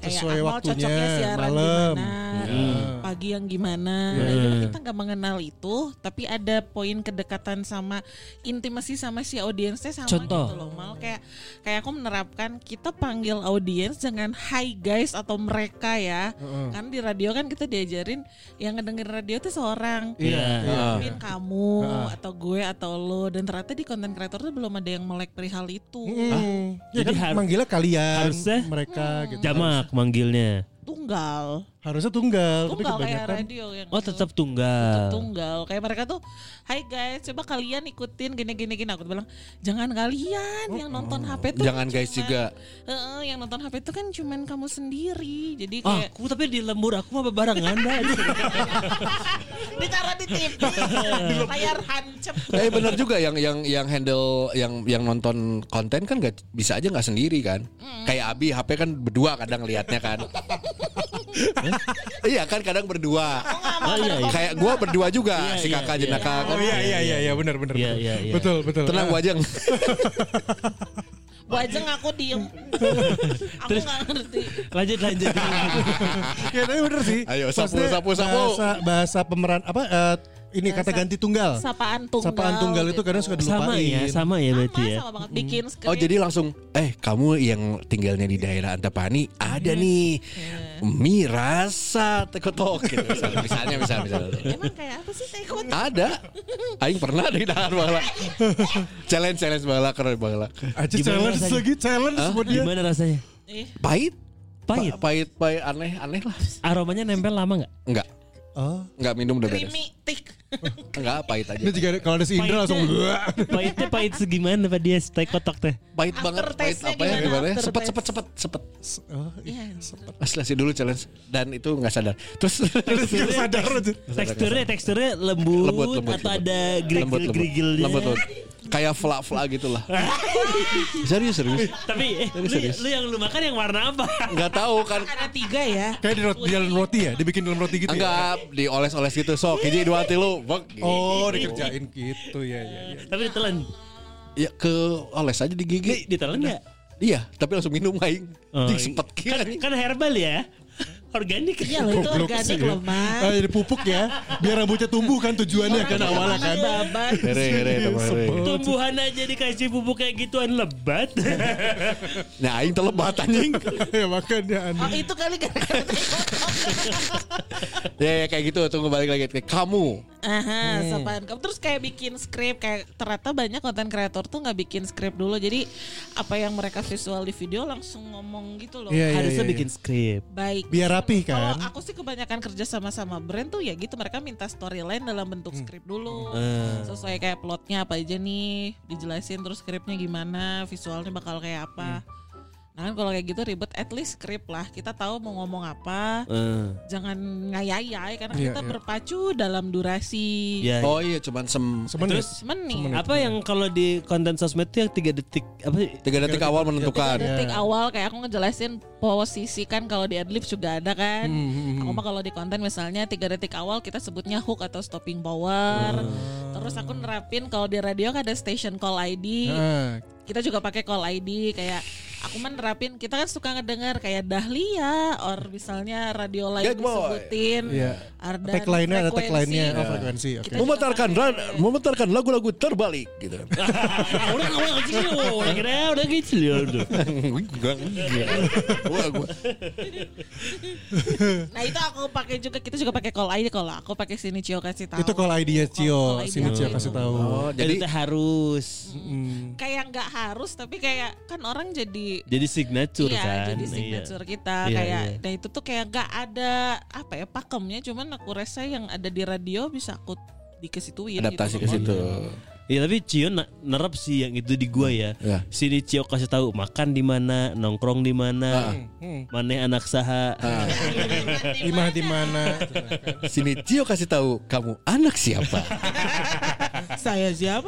Kayak Sesuai Akmal waktunya, cocoknya siaran malam. Iya. gimana, pagi yang gimana. Nah, Jadi kita nggak mengenal itu, tapi ada poin kedekatan sama intimasi sama si audiensnya sama Contoh. gitu loh. Mal kayak kayak aku menerapkan kita panggil audiens dengan hi guys atau mereka ya. Kan di radio kan kita diajarin yang ngedengerin radio tuh seorang Iya. mungkin kamu Iya. atau gue atau lo dan ternyata di konten kreator tuh belum ada yang melek perihal itu Hmm. Ya Jadi kan har- manggilnya kalian harusnya? mereka Hmm. gitu. Jamak manggilnya. tunggal Harusnya tunggal, tapi tunggal kayak kebanyakan radio yang Oh, itu. tetap tunggal. tunggal kayak mereka tuh Hai guys coba kalian ikutin gini gini gini aku bilang jangan kalian yang Oh, nonton HP tuh Jangan guys cuman- juga. Heeh, yang nonton HP tuh kan cuman kamu sendiri jadi Ah, kayak aku tapi di lembur aku mah barengan dah. ditaruh di TV layar hancep Eh benar juga yang yang yang handle yang yang nonton konten kan nggak bisa aja nggak sendiri kan. Mm. Kayak Abi HP kan berdua kadang liatnya kan. iya kan kadang berdua. Oh iya iya. Kayak gua berdua juga Iya, si iya, kakak iya. jenaka kan. Oh iya iya iya iya benar benar. Iya, benar. iya, iya. Betul betul. Ah. Tenang Wajeng. wajeng aku diem aku nggak ngerti Lanjut lanjut. Iya, ya tapi bener sih. Ayo, sapu, Maksudnya sapu, sapu. Bahasa, bahasa pemeran apa eh, ini kata Bahasa- ganti tunggal. sapaan tunggal gitu. Sapaan tunggal itu kadang suka dilupain. sama ya, sama ya berarti sama, ya. sama banget bikin skrip Oh jadi langsung eh kamu yang tinggalnya di daerah Antapani Hmm. ada nih Iya. mirasa tekotok gitu misalnya misalnya misalnya, misalnya. Emang kayak apa sih Iya, taekwondo? Ada. Aing pernah di dahan bala. challenge challenge bala keren bala. Aja Gimana Ah, challenge rasanya? lagi challenge sama dia. Gimana rasanya? Ih, Pahit. Pahit. Pa- pahit pahit aneh aneh lah. Aromanya nempel lama nggak? Enggak. Oh. Enggak minum udah beres. creamy tik. Enggak pahit aja. Ini juga ada- kalau ada si Indra langsung Pahitnya pahit segimana pak dia stay kotak teh? Pahit banget. Pahit Aftertaste-nya apa ya gimana? gimana? Aftertaste. Sepet sepet sepet sepet. Oh, Iya. Asli dulu challenge dan itu enggak sadar. Terus Gak sadar aja. Teksturnya teksturnya lembut, lembut lembut. atau lembut. ada Lembut, lembut. gerigil-gerigilnya. Lembut lembut. Kayak flak-flak gitu lah. serius serius. Tapi eh, lu, lu yang lu makan yang warna apa? Enggak tahu kan Ada tiga ya. Kayak di roti, di dalam roti ya, dibikin dalam roti gitu. ya? Enggak dioles-oles gitu sok. Hiji dua tilu. Bek. Oh, dikerjain gitu ya ya ya. Tapi ditelan. Ya ke oles aja di gigi. Di- Ditelan nggak? Iya, tapi langsung minum aing. Oh, Jing iya. sempet Kan, kira nih. kan herbal ya. Organik. Iya loh itu Goblok organik sih ya. loh mas. Ah, jadi pupuk ya, biar rambutnya tumbuh kan tujuannya kan awalnya kan. Babat. Here, here, teman, here. Tumbuhan aja dikasih pupuk kayak gituan lebat. Nah, aing telebat anjing. ya makanya aneh. Oh itu kali gara-gara taekwondo. ya, ya, kayak gitu tunggu balik lagi Kayak kamu. Aha, sapaan kamu. Terus kayak bikin skrip kayak ternyata banyak konten kreator tuh nggak bikin skrip dulu. Jadi apa yang mereka visual di video langsung ngomong gitu loh. Iya, iya, Harusnya iya, bikin iya. skrip. Baik. biar rapi Kalau kan. aku sih kebanyakan kerja sama sama brand tuh ya gitu mereka minta storyline dalam bentuk Hmm. skrip dulu sesuai kayak Hmm. plotnya apa aja nih dijelasin terus skripnya gimana visualnya bakal kayak apa. Nah Kan kalau kayak gitu ribet, at least script lah. Kita tahu mau ngomong apa, Eh, jangan ngayai karena Iya, kita iya. berpacu dalam durasi. ya. Oh iya cuman sem Semenit. Menit. apa yang kalau di konten sosmed tuh yang tiga detik apa sih? tiga detik awal menentukan. detik awal kayak aku ngejelasin posisi kan kalau di adlib juga ada kan. Aku mah kalau di konten misalnya tiga detik awal kita sebutnya hook atau stopping power. Terus aku nerapin kalau di radio kan ada station call ID. Ah, Kita juga pakai call ID kayak aku mah nerapin kita kan suka ngedengar kayak Dahlia or misalnya radio lain Gag boy. disebutin. Iya. Ardan, Tagline-nya ada frekuensi. tagline-nya. Oh, frekuensi. Oke. Iya. Kita juga Memutarkan pakai. ra- memutarkan lagu-lagu terbalik gitu. udah udah kecil, udah kira udah kecil ya, udah. Gua- gua- Nah itu aku pakai juga kita juga pakai call ID kalau aku pakai sini Cio kasih tahu. Itu kalau idea Cio, Kalau idea sini Cio Cio. kasih tahu. Oh, Jadi jadi harus kayak nggak harus tapi kayak kan orang jadi jadi signature iya, kan. jadi signature kita Iya, kayak iya. nah itu tuh kayak nggak ada apa ya pakemnya cuman aku rasa yang ada di radio bisa aku dikesituin adaptasi ke gitu. situ. Iya tapi Cio na- nerap sih yang itu di gua ya. Ya. Sini Cio kasih tahu makan di mana, nongkrong di mana, Hmm, maneh anak saha. Di mana di mana? Sini Tio kasih tahu kamu anak siapa. saya siapa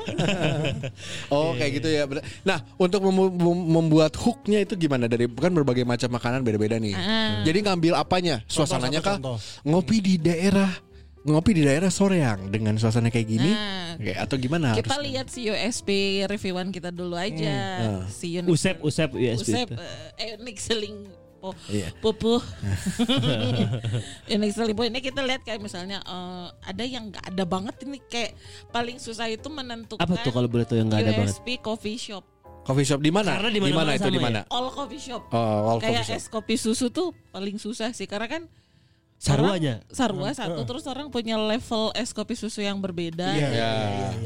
Oh kayak gitu ya. bener. Nah untuk mem- mem- membuat hooknya itu gimana dari kan berbagai macam makanan beda-beda nih. Jadi ngambil apanya? Suasananya satu kah? contoh. Ngopi di daerah ngopi di daerah soreang dengan suasana kayak gini, Nah. Oke, atau gimana? kita harusnya? lihat si USP reviewan kita dulu aja si Yun- Usep usep iya, USB. Usep eh, Nick Selingpo Iya. Pupu Nick Selingpo Eh, ini kita lihat kayak misalnya eh, ada yang nggak ada banget ini kayak paling susah itu menentukan Apa tuh kalau boleh tahu yang nggak ada banget? USP coffee shop Coffee shop di mana? Karena di Di mana mana-mana itu sama di mana? all coffee shop Oh, all kayak coffee shop. es kopi susu tuh paling susah sih karena kan Sarwanya. orang- sarwa satu terus orang punya level es kopi susu yang berbeda Iya, gitu. Ya.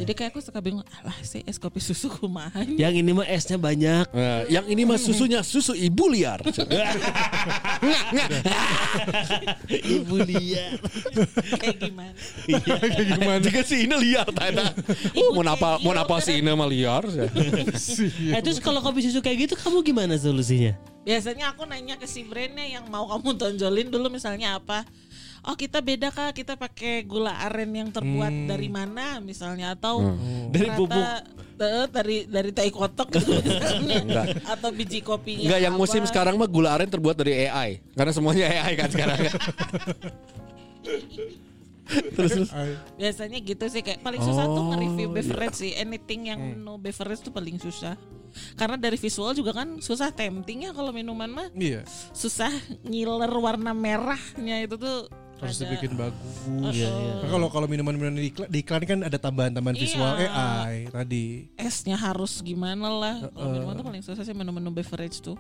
jadi kayak aku suka bingung alah sih es kopi susu kumaha Yang ini mah esnya banyak. Nah, yang ini mah susunya susu ibu liar. Nggak, nggak. Ibu liar. kayak gimana Gimana? Iya. Jika si Ina liar tanda. Oh, mau napa mau napa si Ina mah liar. Eh terus kalau kopi susu kayak gitu kamu gimana solusinya? Biasanya aku nanya ke si brandnya yang mau kamu tonjolin dulu misalnya apa. Oh kita beda kak, kita pakai gula aren yang terbuat dari mana misalnya atau Hmm. Dari ternyata- bubuk. Te- dari dari tai kotok gitu misalnya. atau biji kopinya. Enggak yang apa. musim sekarang mah gula aren terbuat dari AI. Karena semuanya AI kan sekarang. Ah, Biasanya gitu sih kayak paling susah Oh, tuh iya. nge-review beverage sih. Anything yang no beverage tuh paling susah. Karena dari visual juga kan susah tempting ya kalau minuman mah. Iya. Susah ngiler warna merahnya itu tuh Harus ada- dibikin bagus. Iya, iya. Nah, Kalau kalau minuman-minuman di iklan, di iklan kan ada tambahan-tambahan visual Iya. AI tadi. esnya harus gimana lah. Kalau minuman tuh paling susah sih menu-menu beverage tuh.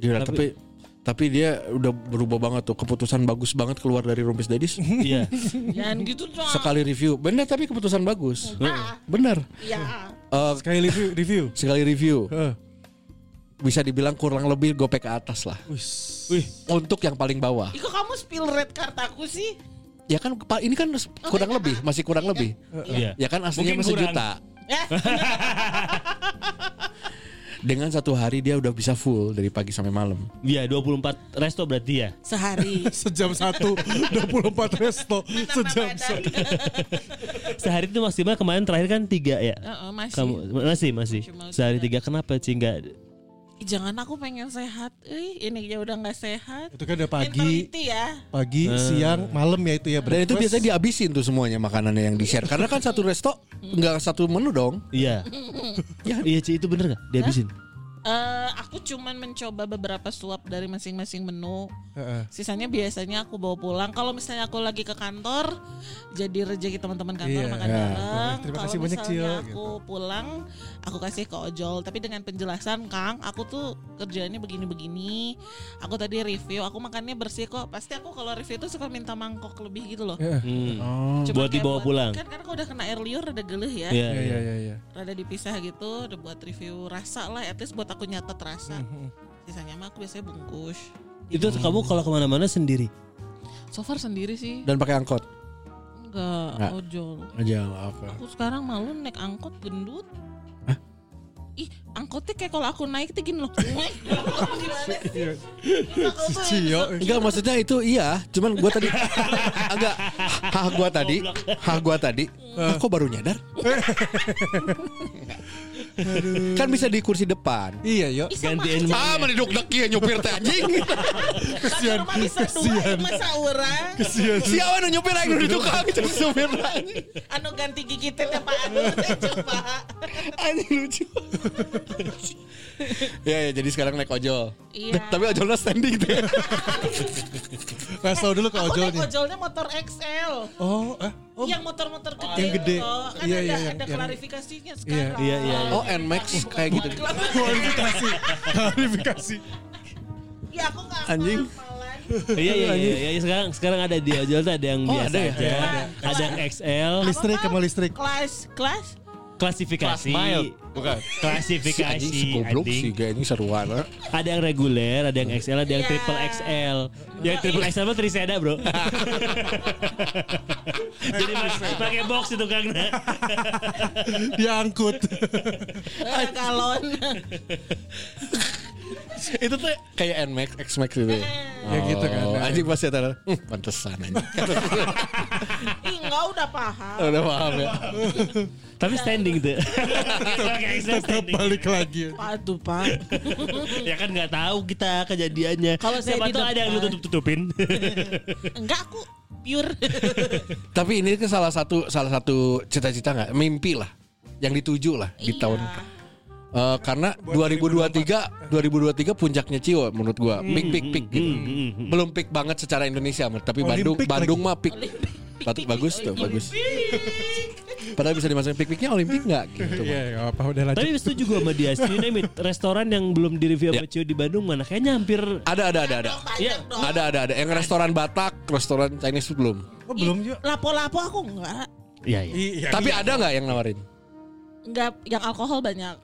Gila, tapi tapi dia udah berubah banget tuh keputusan bagus banget keluar dari Rumpis Dadis Iya. Jangan gitu dong. sekali review bener tapi keputusan bagus bener Ya. Eh, Sekali review review. sekali review Heeh. bisa dibilang kurang lebih gopek ke atas lah Wis. untuk yang paling bawah Ih, kok kamu spill red card aku sih? ya kan pa- ini kan kurang lebih masih kurang lebih Iya. ya kan aslinya Mungkin masih kurang. juta Eh, dengan satu hari dia udah bisa full dari pagi sampai malam Iya 24 resto berarti ya. sehari. Sejam satu 24 resto sejam satu. Sehari itu maksimal kemarin terakhir kan tiga ya. Heeh, masih. Kamu masih masih Cuma sehari tiga tiga. kenapa sih nggak Ih, Jangan aku pengen sehat. Eh, ini ya udah nggak sehat. Itu kan ada pagi, Mentality ya. pagi, siang, malam ya Eh. itu ya. dan itu breakfast. biasanya dihabisin tuh semuanya makanannya yang di share karena kan satu resto nggak satu menu dong Iya. Ya. Iya Ci itu bener gak? Dihabisin. Eh, aku cuman mencoba beberapa suap dari masing-masing menu. Heeh. Sisanya biasanya aku bawa pulang. Kalau misalnya aku lagi ke kantor, jadi rejeki teman-teman kantor Iya, makan iya. bareng. Terima Kalau kasih banyak, misalnya Cil, gitu. aku pulang, aku kasih ke ojol. Tapi dengan penjelasan, Kang, aku tuh kerjaannya begini-begini. Aku tadi review, aku makannya bersih kok. Pasti aku kalau review tuh suka minta mangkok lebih gitu loh. Hmm. Oh. Cuma Buat kayak dibawa pulang. Kan karena kalau udah kena air liur udah geleh ya. Iya. Iya iya iya. iya. Rada dipisah gitu, udah buat review rasa lah. At least buat aku nyatet rasa. Hmm, Sisanya mah aku biasanya bungkus. Itu Hmm. kamu kalau kemana-mana sendiri. So far sendiri sih, dan pakai angkot Nggak. enggak ojol. aja apa Aku sekarang malu naik angkot gendut. Ih, angkot takutnya kayak kalau aku naik tuh gini loh. Gimana sih? Iya. Aku tuh yang Enggak maksudnya itu iya, cuman gua tadi agak hah gua tadi, hah gua tadi. Hah, kok baru nyadar? kan bisa di kursi depan. Iya yo. Ih, sama Gantiin aja. Ah, mendiduk deki nyupir teh anjing. Satu rumah bisa dua masa orang. Siapa nu nyupir aing nu di ah, gitu, tukang jadi supir anjing. Anu ganti gigi teh teh, Pak anu teh coba. Anjing lucu. ya, ya jadi sekarang naik ojol. Eh, Iya. Tapi ojolnya standing gitu ya. deh. Kasih tau dulu ke Aku naik ojolnya. ojolnya motor XL. Oh, eh, oh. Yang motor-motor gede. Yang gede. loh. Kan Iya, ada, iya, yang- ada yang- klarifikasinya sekarang. Iya, iya, iya. Oh, Nmax kayak gitu. Kualifikasi. Kualifikasi. Ya aku nggak Anjing. malan. iya, iya, iya, iya, sekarang sekarang ada di ojol tuh ada yang Oh, biasa ada ya? aja, Ada. ada yang XL, Listrik sama listrik. Kelas, kelas. klasifikasi, Bukan. klasifikasi, Anjing si goblok anjing. sih, kayak ini seruan. ah. ada yang reguler, ada yang XL, ada yang Iya. triple XL, yang triple XL mah triseda bro. Jadi pakai- pakai box itu kang. Iya. Diangkut. Eh, Galon. itu tuh kayak Nmax, Xmax gitu ya. Ya gitu kan. Oh, anjing pasti ada. Hmm, pantesan anjing. Ih, enggak udah paham. Udah paham ya. Tapi standing Iya. tuh. Pakai XL Tetap standing. balik lagi. Aduh, Pak. ya kan nggak tahu kita kejadiannya. Kalau saya Siapa di tahu ada yang depan. tutup tutupin. Enggak aku pure. Tapi ini kan salah satu salah satu cita-cita nggak mimpi lah yang dituju lah di Iya. tahun Eh, karena 2023 2023 puncaknya Cio menurut gua Hmm, peak peak peak gitu. Belum peak banget secara Indonesia men, tapi Bandung Olimpik Bandung mah peak. Patut bagus tuh, bagus. Padahal bisa dimasukin peak peaknya Olimpik nggak gitu. Iya, nggak apa udah lanjut. Tapi setuju gue sama dia. You name it, restoran yang belum direview sama Cio di Bandung mana? Kayaknya hampir Ada ada ada ada. Iya, Banyak dong. Ada ada ada yang restoran Batak, restoran Chinese food belum. Oh, belum yuk. Lapo-lapo aku enggak. Iya, iya. Iya. Tapi ada nggak yang nawarin? Enggak yang alkohol banyak.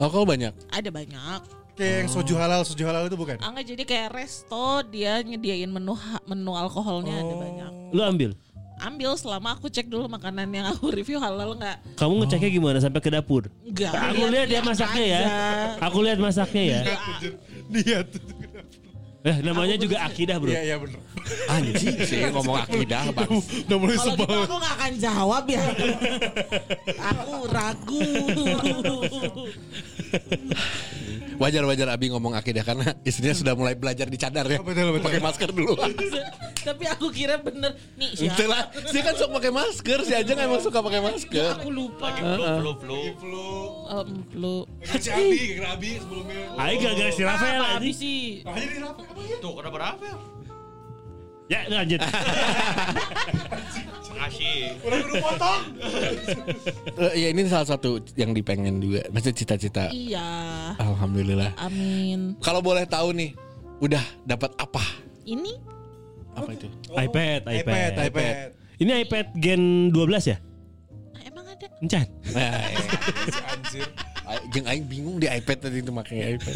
Alkohol Oh, banyak. Ada banyak. Oh, Kayak yang soju halal, soju halal Ah. itu bukan? Angga jadi kayak resto dia nyediain menu ha- menu Oh. alkoholnya ada banyak. Lu ambil. Ambil selama aku cek dulu makanan yang aku review halal nggak. Kamu ngeceknya gimana sampai ke dapur? Enggak. Iya, Aku lihat dia masaknya ya. Aku lihat masaknya ya. Lihat. Eh, namanya juga akidah, Bro. Iya, iya benar. Anjing sih ngomong akidah bang. Udah mulai Kalau gitu sebel. aku nggak akan jawab ya. aku ragu. Wajar-wajar Abi ngomong akidah karena istrinya sudah mulai belajar di cadar ya. betul, betul. Pakai masker dulu. Tapi aku kira bener nih Betul lah. siapa? Dia kan suka pakai masker, si Ajeng emang suka pakai masker. Aku lupa. Eh, Em, lu. Si Abi, kira Abi sebelumnya. Ayo gara-gara Ah, si Rafael Apa aja. habis sih? Makanya dia rapat apa ya? Tuh kenapa Rafael? Ya, lanjut. Makasih. Udah kudu potong. Eh, ya ini salah satu yang dipengen juga. Maksudnya cita-cita. Iya. Alhamdulillah. Amin. Kalau boleh tahu nih, udah dapat apa? Ini Apa itu? iPad, iPad. iPad, iPad. Ini iPad Gen 12 ya? emang ada Encan. Nah, ya. Anjir. Ay- Jeng Aing bingung di iPad tadi itu makanya iPad.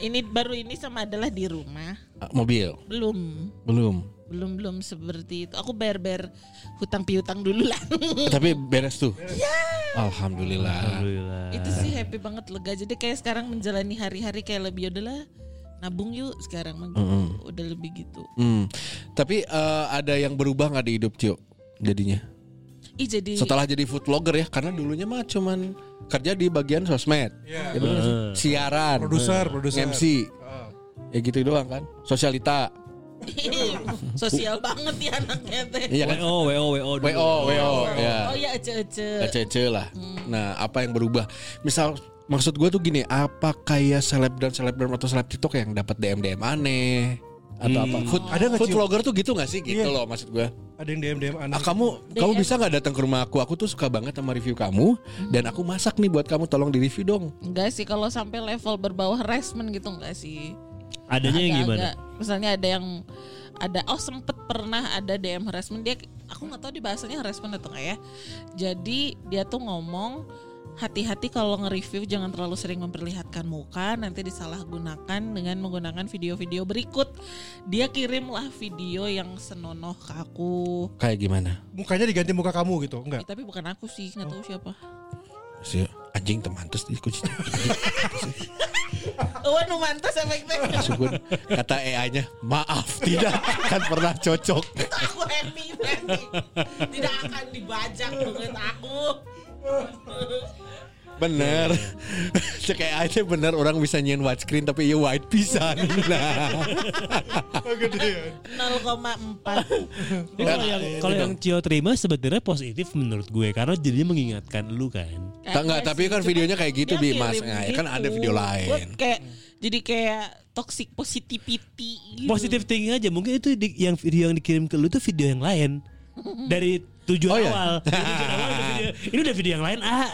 ini baru ini sama adalah di rumah Ah, Mobil belum belum. belum belum seperti itu aku bayar bayar hutang piutang dulu lah Tapi beres tuh. Ya. Alhamdulillah. Iya kan? Alhamdulillah. itu sih happy banget lega jadi kayak sekarang menjalani hari-hari kayak lebih "Ya udahlah nabung yuk sekarang mah gitu. udah lebih gitu Hmm. Tapi eh, ada yang berubah nggak di hidup Cio jadinya? ih jadi Iya. setelah jadi food vlogger ya karena dulunya mah cuman kerja di bagian sosmed ya, bener nggak sih? siaran Iya. Produser, produser. MC ya gitu doang kan sosialita sosial banget ya anaknya teh iya kan WO, WO, WO. dulu. wo wo ya oh ya ece ece Ece-ece lah nah apa yang berubah misal maksud gue tuh gini apa kayak selebgram selebgram atau seleb tiktok yang dapat dm dm aneh atau apa food Ada nggak, Hmm. food Cio? vlogger tuh gitu gak sih gitu Iya. loh maksud gue Ada yang DM DM Ah, anak. kamu kamu bisa nggak datang ke rumah aku aku tuh suka banget sama review kamu dan aku masak nih buat kamu tolong di review dong enggak sih kalau sampai level berbawah resmen gitu enggak sih Adanya yang gimana? Agak-agak. Misalnya ada yang ada oh sempet pernah ada DM harassment dia aku nggak tahu di bahasanya harassment atau enggak ya. Jadi dia tuh ngomong hati-hati kalau nge-review jangan terlalu sering memperlihatkan muka nanti disalahgunakan dengan menggunakan video-video berikut. Dia kirimlah video yang senonoh ke aku. kayak gimana Mukanya diganti muka kamu gitu, enggak? Eh, tapi bukan aku sih, nggak tahu siapa. si anjing teman terus dikunci Wan mantas efeknya. Syukur kata EA-nya, maaf tidak akan pernah cocok. aku happy nanti. Tidak akan dibajak menurut aku. Bener. Iya, Cek EA-nya bener orang bisa nyian widescreen tapi iya wide pisan. Nah. 0,4. Tapi Nah, kalau yang kalau yang Cio terima sebenarnya positif menurut gue karena jadinya mengingatkan lu kan. Tak enggak, tapi kan Cuma videonya kayak gitu, dia Bi, Mas. kirim Nah, ya kan ada video lain. Gua Kayak jadi kayak toxic positivity Iya. gitu. Positif thinking aja mungkin itu di- yang video yang dikirim ke lu tuh video yang lain dari tujuan Oh, iya? awal. Dari tujuan awal udah video- ini udah video yang lain ah.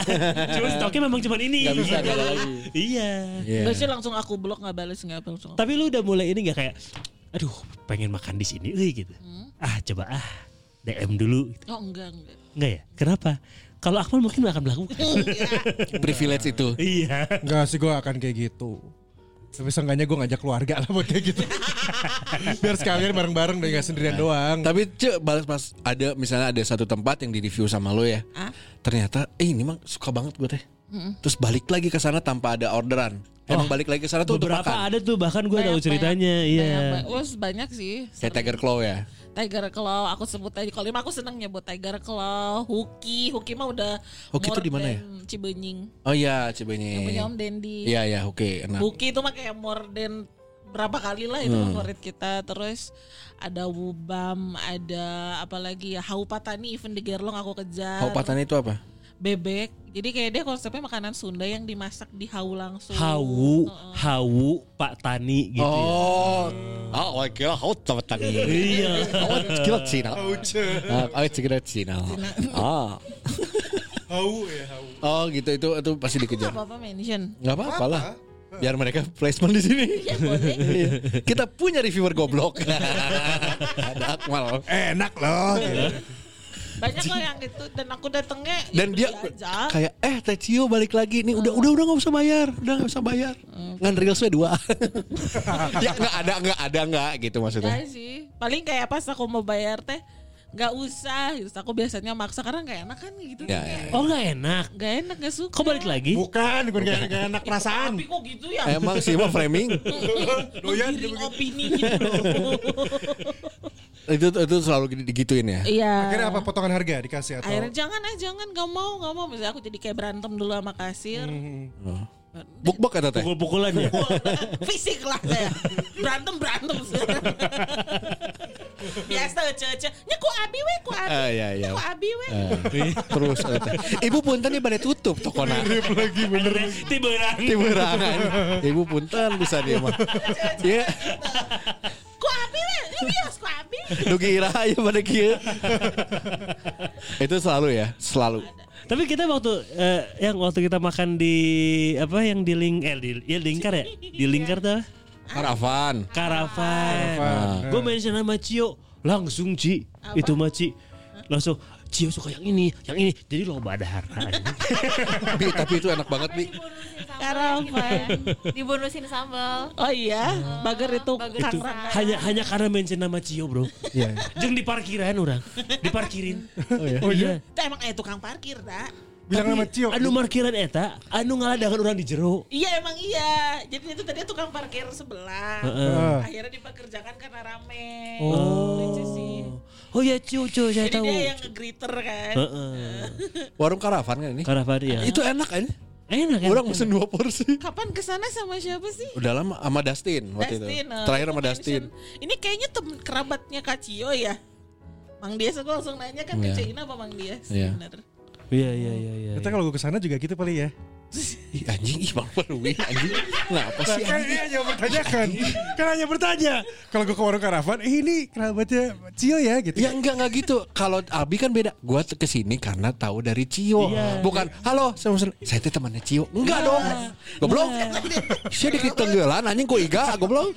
Cuma stoknya memang cuma ini. Nggak Gitu. bisa kalau lagi. Iya. Biasanya langsung aku blok nggak balas nggak balas langsung. Tapi lu udah mulai ini nggak kayak aduh pengen makan di sini euy gitu. Hmm. Ah coba ah DM dulu gitu. Oh enggak enggak. Enggak ya? Kenapa? Kalau Akmal mungkin nggak akan melakukan. Privilege itu. iya. Enggak sih gue akan kayak gitu. Tapi seenggaknya gue ngajak keluarga lah buat kayak gitu. Biar sekalian bareng-bareng deh gak sendirian doang. Tapi cek balas mas ada misalnya ada satu tempat yang di review sama lo ya. Ah. Ternyata eh ini emang suka banget gue teh. Terus balik lagi ke sana tanpa ada orderan. Emang balik lagi ke sana tuh untuk Oh, Beberapa makan. ada tuh bahkan gue tahu Banyak, ceritanya. banyak, Iya. banyak, banyak. Wah, banyak sih. Kayak Tiger Claw ya. Tiger Claw aku sebut aja kalau lima aku seneng nyebut Tiger Claw, Huki, Huki mah udah Huki tuh more di mana ya? than Cibenying. Oh iya Yang punya cibenya. Om Dendi. Iya iya oke Hmm. enak. Buki itu mah kayak more than berapa kali lah itu favorit kita terus ada Wubam ada apalagi ya Haupatani even di Gerlong aku kejar Hau patan itu apa? bebek jadi kayak dia konsepnya makanan Sunda yang dimasak di hau langsung Hawu, hawu Pak Tani gitu ya. oh. Ah, oh, kira hau patan. Iya. Oh, Hau kira Cina. Ah, kira Cina. Ah. Hau ya hau. Oh gitu itu itu pasti dikejar. apa apa mention Gak apa-apa lah. Biar mereka placement di sini. ya boleh Iya. Kita punya reviewer goblok. Ada Akmal. Enak loh. banyak kok yang itu dan aku datangnya ya Dan beli dia aja. kayak eh Teh Cio balik lagi nih udah udah udah nggak usah bayar udah nggak usah bayar ngan reelsnya dua ya nggak ada nggak ada nggak gitu Enggak maksudnya Iya sih. Paling kayak pas aku mau bayar teh nggak usah gitu. Aku biasanya maksa karena nggak enak kan gitu. Ya, ya, Kayak, Oh nggak enak. Nggak enak nggak suka. Kok balik lagi? Bukan, bukan gak, gak enak perasaan. Tapi kok gitu ya? emang sih mah framing Menggiring opini gitu loh. itu itu selalu gitu- digituin ya Iya. Akhirnya apa potongan harga dikasih atau? Akhirnya jangan ah jangan nggak mau nggak mau. Misalnya aku jadi kayak berantem dulu sama kasir. bukbok kata teh Pukul-pukulan ya. Fisik lah saya. Berantem berantem. Biasa cece. Ya ku abi we ku abi. Ah, iya, iya. Ku abi we. Eh, terus kata teh. ibu punten nih pada tutup tokona lagi bener. Tiberan. tiburangan ibu punten bisa dia mah ya Ku abi we. Ya bios ku abi. dugi ira ya pada kieu itu selalu ya selalu Tapi kita waktu eh, yang waktu kita makan di apa yang di ling eh di ya lingkar ya di lingkar tuh karavan karavan. Gue mention sama Cio langsung Ci itu mah Ci langsung Cio suka yang ini yang ini jadi lo badar. Gitu. Bi, tapi itu enak banget bi ya, Karavan. Dibonusin sambal. Oh iya, bager itu Bager Kang itu. Rangga. hanya hanya karena mention nama Cio bro. Iya. Jeng di parkiran orang diparkirin. Oh iya. Itu emang eh tukang parkir, dah. Bilang sama Cio. Anu parkiran eta, anu ngalah dengan orang di jero. Iya emang iya. Jadi itu tadi tukang parkir sebelah. Heeh. Akhirnya dipekerjakan karena rame. Oh. Lucu sih. Oh ya Cio, Cio saya Jadi tahu. dia yang nge-greeter kan. Heeh. warung karavan kan ini Karavan ya. itu enak kan Enak kan? orang pesen dua porsi Kapan kesana sama siapa sih? udah lama sama Dustin waktu Dustin, itu eh, terakhir aku sama Dustin mention, Ini kayaknya temen kerabatnya Kak Cio ya. Mang Dias aku langsung nanya kan Iya. ke Cina apa Mang Dias? Iya. Bener. Iya iya iya iya. Kita kalau gue kesana juga gitu paling ya. Ih, anjing ih bang Perwi anjing kenapa sih Kan anjing ini hanya bertanyakan. Kan hanya bertanya. Kalau gue ke warung karavan, eh ini kerabatnya Cio ya gitu. Ya enggak enggak gitu. Kalau Abi kan beda. Gua t- kesini karena tahu dari Cio. Iya. Bukan halo, saya mau sen- saya teh temannya Cio. Enggak dong. Goblok. Iya. Saya dikit tenggelan anjing ku iga goblok.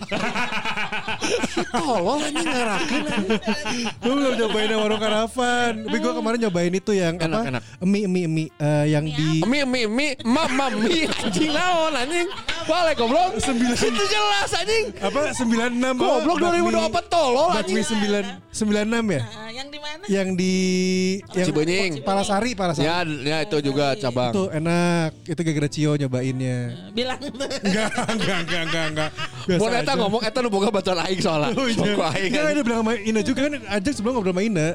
Tolol anjing ngarakin. gue belum nyobain yang warung karavan. Tapi gue kemarin nyobain itu yang Enak, apa? enak. Mie mie mie eh, yang di Mi mi mi mama mi anjing naon anjing. Balik goblok. Itu jelas anjing. Apa 96 Goblok 2024 tolol anjing. Bakmi 9 96 ya? Ah, yang di mana? Yang di yang Cibenying. Palasari, Palasari. Ya, ya itu juga cabang. Itu enak. Itu gara-gara Cio nyobainnya. Bilang Enggak, enggak, enggak, enggak, enggak. Biasa Bon eta aja. ngomong eta nu boga bacaan aing soalnya. Oh, iya. Sok aing. Enggak, anjing. dia bilang sama Ina juga kan ajak sebelum ngobrol sama Ina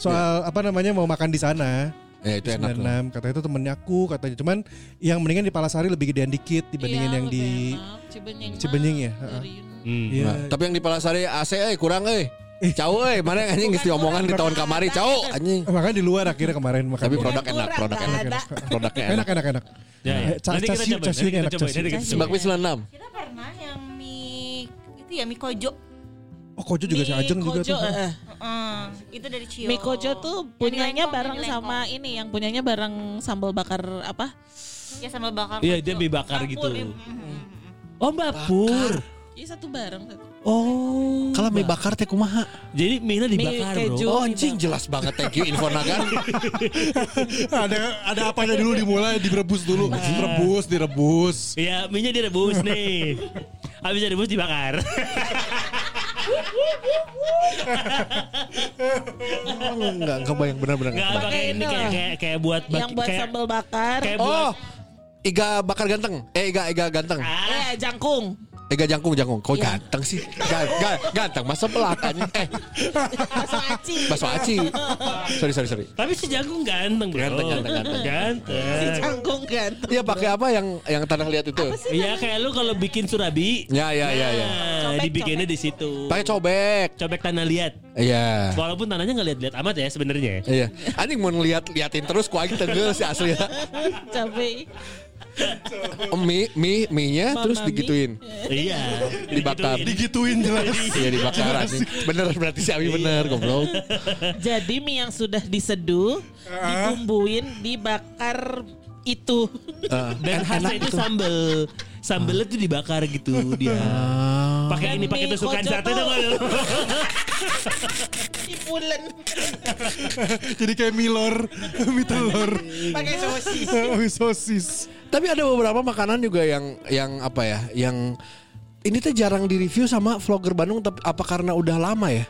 soal apa namanya mau makan di sana. Ya itu enak. lah. 96 katanya itu temennya aku katanya cuman yang mendingan di Palasari lebih gedean dikit dibandingin Iya, yang lebih di enak. Cibenying. mah Cibenying ya, dari heeh. Yunani. Hmm. Iya. Nah, tapi yang di Palasari AC eh kurang eh. Cau eh, mana yang anjing Bukan geus diomongan di kurang. tahun kamari cau anjing. makanya di luar akhirnya kemarin makan Tapi di- produk enak, kurang, produk nggak enak. ada. Produknya enak enak. enak enak. Ya, ya. Eh, ca- Nanti kita casiu, coba, casiu nanti kita enak, coba, casiu. nanti kita coba. Bakmi 96. Kita pernah yang mie itu ya mie kojo. Oh kojo juga si Mie Ajeng juga kojo, tuh. eh. Heeh, itu dari Cio. Mie kojo tuh Yang punyanya dilengkong, bareng yang dilengkong. sama ini yang punyanya bareng sambal bakar apa? ya sama bakar. Iya, kojo. dia mie bakar Campur, gitu. dia- Mm-hmm. Mhm. Oh Mbak Pur. Iya satu bareng satu. Oh. Kalau mie bakar teh kumaha? Jadi mie dibakar keju. bro. Oh anjing jelas banget thank you info nagan. ada ada apanya dulu dimulai direbus dulu. Rebus, direbus. Iya, mie-nya direbus nih. Habis direbus dibakar. Oh, enggak enggak bayang benar-benar. Enggak pakai ini kayak kayak, kayak buat bak- yang buat kayak, sambal bakar. kayak buat Oh, iga bakar ganteng. Eh iga iga ganteng. Ah, Eh, jangkung. Iga jangkung jangkung. Iya. Kok ganteng sih? Ga- ga- ganteng masa belakangnya. Eh, Bakso aci. bakso aci. Sorry sorry sorry. tapi si jagung ganteng bro. Ganteng, ganteng, ganteng. Ganteng. Jangkung kan. Iya pakai apa yang yang tanah liat itu? Iya kayak lu kalau bikin surabi. Ya ya ya ya. Nah, Cobek, dibikinnya di situ. Pakai cobek. Cobek tanah liat. Iya. Walaupun tanahnya nggak liat-liat amat ya sebenarnya. Iya. Anjing mau ngeliat liatin terus ku aing tegel sih asli. Cabai. Mie mie mie nya Mama terus mie. digituin. Iya. Dibakar. Digituin. Digituin jelas. Iya. Iya dibakar anjing. Bener berarti si Abi bener goblok. Jadi mie yang sudah diseduh, dibumbuin, dibakar itu. Eh, Dan khasnya itu sambel. Sambelnya tuh dibakar gitu dia. Ah. Pakai ini pakai Mie tusukan kocok sate tuh. tuh. Dipulen. Jadi kayak milor, mie telur. Pakai sosis. Mie sosis. Tapi ada beberapa makanan juga yang yang apa ya, yang ini tuh jarang direview sama vlogger Bandung tapi apa karena udah lama ya?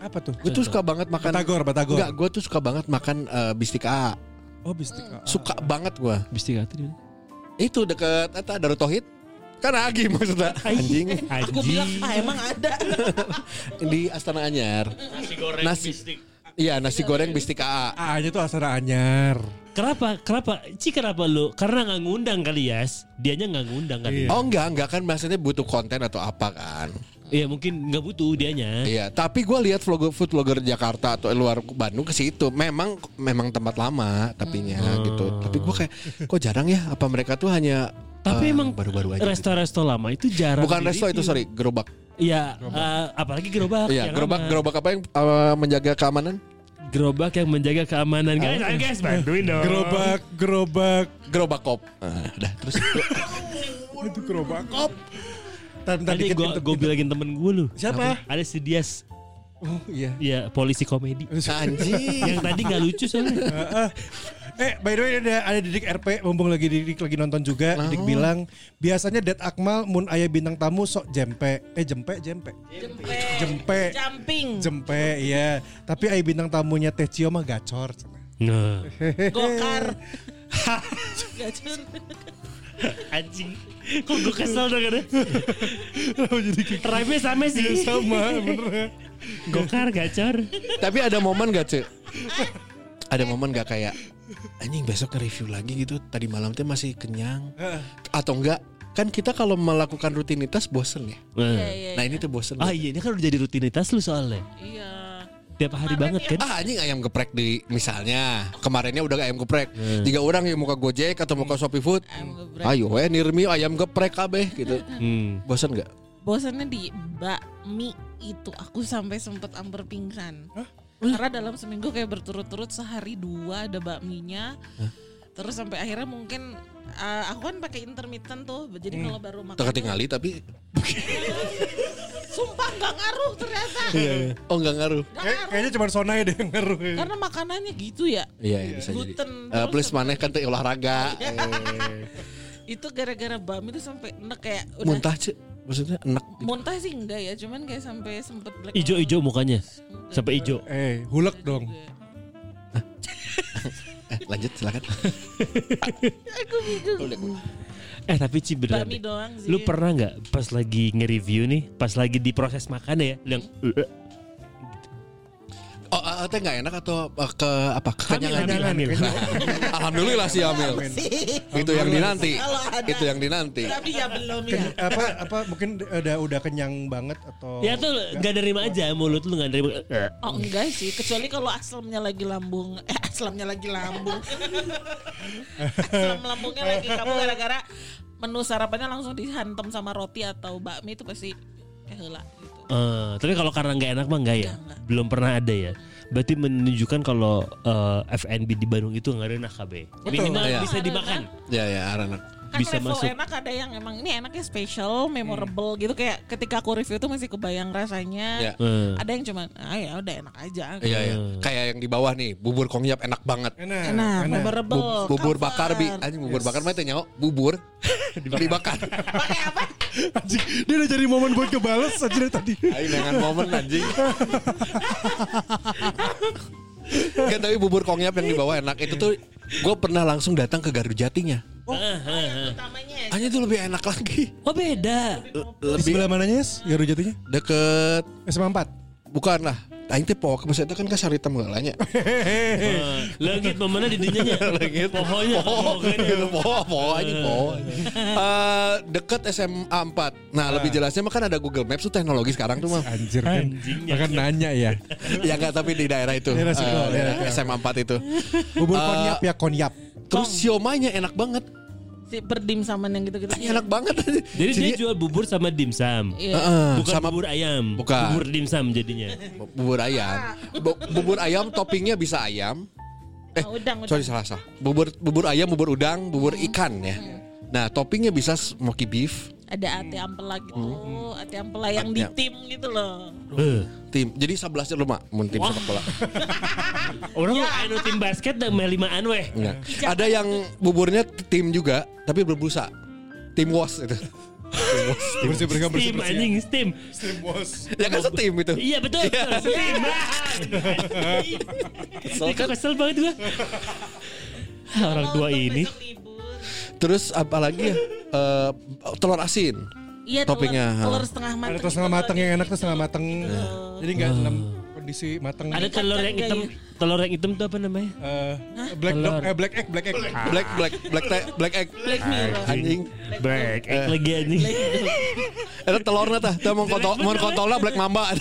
Apa tuh? Gue tuh suka banget makan Batagor, Batagor. Enggak, gue tuh suka banget makan eh, bistik A. Oh bistik. Suka banget gue. Bistik hati dia. Itu deket eta Darut Tauhid. Kan Agi maksudnya anjing Aku bilang, ah emang ada. di Astana Anyar. Nasi goreng Nasi- bistik. Iya, nasi goreng bistik A. A-nya Ah, tuh asara anyar. Kenapa? Kenapa? Ci kenapa lu? Karena nggak ngundang kali ya. Dianya nggak ngundang kan. Oh enggak, enggak kan maksudnya butuh konten atau apa kan? Iya mungkin nggak butuh dianya. Iya, tapi gue lihat vlogger food vlogger Jakarta atau luar Bandung ke situ, memang memang tempat lama, tapinya gitu. Tapi gue kayak, kok jarang ya? Apa mereka tuh hanya eh, Tapi emang baru-baru aja? gitu. Resto-resto lama itu jarang. Bukan resto itu di-review. sorry, gerobak. Iya, eh, apalagi gerobak. Iya, yang gerobak lama. gerobak apa yang eh, menjaga keamanan? Gerobak yang menjaga keamanan Nah, guys. Ayo guys, bantuin dong. Gerobak, gerobak. Gerobak kop. Nah, udah terus Itu gerobak kop. Tadi Tadi gue gue bilangin temen gue lu. Siapa? Ada si Dias, Oh iya. ya polisi komedi. anjing. Yang tadi nggak lucu soalnya. Eh, by the way ada ada Didik RP mumpung lagi Didik lagi nonton juga. Didik bilang biasanya Ded Akmal mun aya bintang tamu sok jempe. Eh jempe jempe. Jempe. Jempe. Jumping. Hmm. Jempe iya. Tapi aya bintang tamunya Teh Cio mah gacor. Nah, Gokar. Gacor. anjing. Kok gue kesel dong ada. Jadi kayak gitu? Iya, Rhyme sama sih. sama bener. Gokar gacor. Tapi ada momen gak cuy? Ada momen gak kayak anjing besok nge-review lagi gitu tadi malam tuh masih kenyang atau enggak? Kan kita kalau melakukan rutinitas bosen ya. Iya, iya, Nah ini tuh bosen. Ah iya ini kan udah jadi rutinitas lu soalnya. Iya. Tiap hari ya. banget kan. Ah anjing ayam geprek di misalnya kemarinnya udah ayam geprek. Tiga orang yang muka Gojek atau muka Shopee Food. Ayam Hmm. geprek. Ayo eh nirmi ayam geprek kabeh gitu. Hmm. Bosen gak? Bosannya di bakmi itu aku sampai sempet amper pingsan. Karena dalam seminggu kayak berturut-turut sehari dua ada bakminya. Terus sampai akhirnya mungkin uh, aku kan pakai intermittent tuh. Jadi kalau baru makan Terketingali tapi sumpah nggak ngaruh ternyata. oh nggak ngaruh. Nggak Kayak- ngaruh. kayaknya cuma sonai deh yang ngaruh. Karena makanannya gitu ya. Iya, iya bisa jadi. Gluten, Eh, terus Iya. plus maneh kan teh olahraga. Eh, itu gara-gara bakmi tuh sampai enek kayak udah Muntah cek Maksudnya enak muntah sih enggak ya cuman kayak sampai sempet black Ijo-ijo mukanya. Enggak Sampai juga. ijo. Eh, hulek Enggak dong. juga. Eh, Lanjut silakan aku bingung Eh tapi Ci beneran bakmi deh. doang sih Lu pernah nggak pas lagi nge-review nih, pas lagi di proses makannya ya, lu yang "Eh, eh." Oh eh, teh gak enak atau eh, ke apa Kekenyangan hamil, hamil. Alhamdulillah sih Amil Itu yang dinanti Kalau ada. Itu yang dinanti tapi ya belum ya Ken- apa apa mungkin udah udah kenyang banget atau Ya tuh nggak nerima aja mulut lu nggak nerima. "Eh, eh." Oh enggak sih, kecuali kalau aslamnya lagi lambung, eh aslamnya lagi lambung. Aslam lambungnya lagi kamu gara-gara menu sarapannya langsung dihantam sama roti atau bakmi itu pasti keheula gitu. Eh, tapi kalau karena nggak enak mah nggak ya, Nggak, nggak. belum pernah ada ya. Berarti menunjukkan kalau eh, FNB di Bandung itu nggak renah KB. Minimal Iya. bisa dimakan. Ya ya Aranak Kan Bisa level masuk. Hmm. enak ada yang emang ini enaknya special, memorable gitu kayak ketika aku review tuh masih kebayang rasanya. Iya. Eh, Ada yang cuman ah ya udah enak aja. Iya ya Kayak yang di bah nih Bubur kongyap enak banget enak, Enak, memorable. Bu- Bubur bakar bi cover. Anjing bubur bakar mah teh nyawa Bubur Dibakar Pakai apa? Anjing, dia udah jadi momen buat kebales aja dari tadi. Ayo dengan momen anjing. Gak tapi bubur kongyap yang di bawah enak itu tuh gue pernah langsung datang ke Gardu Jatinya. Hmm. Utamanya Hanya itu lebih enak lagi. Oh beda. Di sebelah mananya, Yes? Ya, Garu Jatinya? Deket SMA 4. bukan lah. Aing teh poho maksudnya kan ke Sarita Menggalanya. Eh, Langit mana di dindingnya? gitu. Langit. Pohonnya. Poho pohonnya. gitu poho poho anjing poho. Eh, deket SMA 4. Nah, Ah. lebih jelasnya mah kan ada Google Maps tuh teknologi sekarang tuh mah. Anjir kan. Bahkan nanya ya. ya enggak tapi di daerah itu. Daerah situ, Eh, daerah daerah SMA 4 itu. Bubur Eh, konyap ya konyap. Terus siomanya enak banget. si perdim sama yang gitu-gitu. Iya, Enak banget. Jadi dia jual bubur sama dimsum. Iya. Heeh, Bukan sama bubur ayam, Bukan. bubur dimsum jadinya. Bu- bubur ayam. Bu- bubur ayam toppingnya bisa ayam. Eh, Oh, udang, sorry udang. salah salah. Bubur bubur ayam, bubur udang, bubur ikan ya. Nah, toppingnya bisa smoky beef. ada ate ampela gitu, ate ampela yang di Ate- tim gitu loh. Eh, Tim. Jadi 11 lu mak, mun tim sepak bola. Orang anu tim basket dan main limaan weh. Enggak. Iya. Ada yang buburnya tim juga, tapi berbusa. Tim was itu. Tim was. tim- Bersih bersih bersih. Steam anjing steam. ya kan setim itu. Iya betul. Steam. Kesel kesel banget gua. Orang tua Untuk ini. besok libur. Terus apalagi ya? Eh, telur asin. Iya, Toppingnya, telur, ha. telur setengah gitu matang. Ada tuh setengah mateng yang enak tuh setengah mateng. Jadi Eh. enggak dalam kondisi mateng. Eh. Ada telur yang hitam. Telur yang hitam tuh apa namanya? Eh, black Telur. dog, eh black egg, black egg. Black black black te- black egg. Black Mirror. Anjing. Black Ah. egg lagi anjing. Eta telurna tah, teu mau kontol, mau kontolna black mamba.